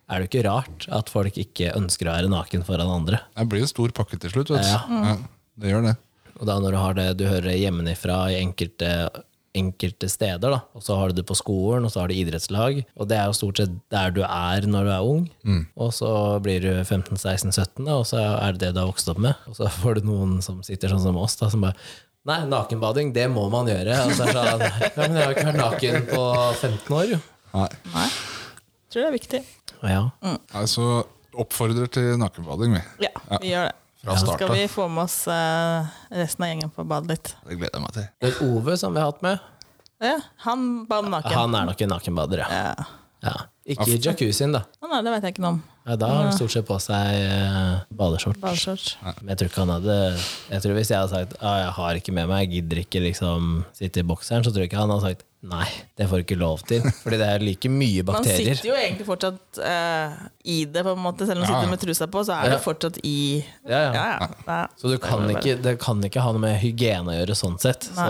S1: er det jo ikke rart at folk ikke ønsker å være naken foran andre.
S3: Det blir en stor pakke til slutt, vet du.
S1: Ja.
S3: Ja, det gjør det.
S1: Og da når du har det du hører hjemmefra i enkelte, enkelte steder, da, og så har du det på skolen, og så har du idrettslag, og det er jo stort sett der du er når du er ung, og så blir du 15-16-17, da, og så er det det du har vokst opp med, og så får du noen som sitter sånn som oss, da, som bare Nei, nakenbading, det må man gjøre. Og så er det sånn, ja, men jeg har ikke vært naken på 15 år, jo.
S3: Nei.
S2: Nei. Tror det er viktig.
S1: Ja.
S3: Nei, så oppfordrer til nakenbading, vi.
S2: Ja, vi gjør det.
S3: Fra
S2: Så
S3: start
S2: skal
S3: av.
S2: vi få med oss eh, resten av gjengen på badet litt.
S3: Det gleder jeg meg til.
S1: Det er Ove som vi har hatt med.
S2: Ja, han bad naken.
S1: Han er nok en nakenbader, ja.
S2: Ja.
S1: ja. Ah. Ikke i jacuzzien, da.
S2: Han er, det vet jeg ikke noe om.
S1: Ja, da har han stort sett på seg eh, badeshorts.
S2: Badeshorts.
S1: Men jeg tror ikke han hadde Jeg tror Hvis jeg hadde sagt ah, jeg har ikke med meg, jeg gidder ikke liksom sitte i bokseren, så tror jeg ikke han hadde sagt nei, det får du ikke lov til. Fordi det er like mye
S2: Man
S1: bakterier.
S2: sitter jo egentlig fortsatt eh, i det, på en måte. Selv om man
S3: Ja, ja.
S2: sitter med trusa på, så er
S1: Ja.
S2: du fortsatt i
S1: Ja, ja.
S2: ja.
S1: Så du kan ikke, det kan ikke ha noe med hygiene å gjøre sånn sett. Så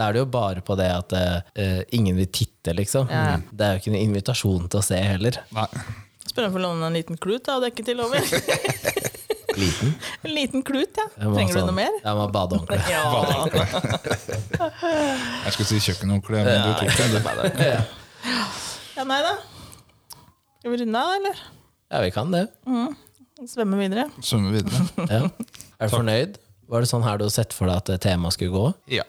S1: da er det jo bare på det at eh, ingen vil titte, liksom.
S2: Ja.
S1: Det er jo ikke en invitasjon til å se heller.
S3: Nei.
S2: Spør om å få låne en liten klut da, å dekke til over.
S1: Liten.
S2: en liten klut, ja.
S1: Jeg må ha
S2: Trenger du
S1: sånn-
S2: noe mer?
S1: Jeg må ha badehåndkle.
S2: Ja.
S3: Jeg skulle si kjøkkenhåndkle, men du tok den. du.
S1: Ja.
S2: ja, nei da. Skal vi runde av, eller?
S1: ja, vi kan det.
S2: Svømme videre?
S3: Svømme videre.
S1: Ja. Er du fornøyd? Var det sånn her du hadde sett for deg at eh, temaet skulle gå?
S3: Ja,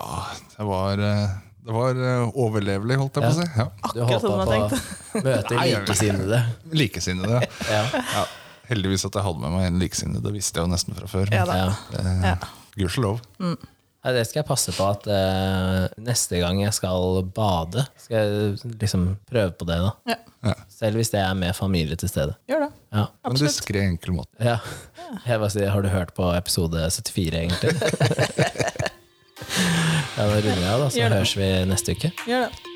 S3: det var, eh, det var eh, overlevelig, holdt jeg på å si. Ja.
S1: Du
S2: Akkurat
S1: håpa
S2: sånn
S1: på
S2: jeg
S1: å møte
S3: Nei, jeg-
S1: likesinnede?
S3: Likesinnede.
S1: Ja.
S3: Ja. heldigvis at jeg hadde med meg en likesinnede. Det visste jeg jo nesten fra før.
S2: Ja
S3: Men
S2: da.
S1: Ja.
S3: eh,
S2: Ja.
S3: Gudskjelov.
S1: Ja, det skal jeg passe på at eh, neste gang jeg skal bade, skal jeg liksom prøve på det. da.
S2: Ja.
S3: Ja.
S1: Selv hvis det er med familie til stede.
S2: Gjør det.
S1: Ja.
S3: På en diskré, enkel måte.
S1: ja. Jeg bare sier, Har du hørt på episode 74, egentlig? ja, Da runder jeg av, da, så
S2: Gjør det.
S1: høres vi neste uke.
S2: Gjør det.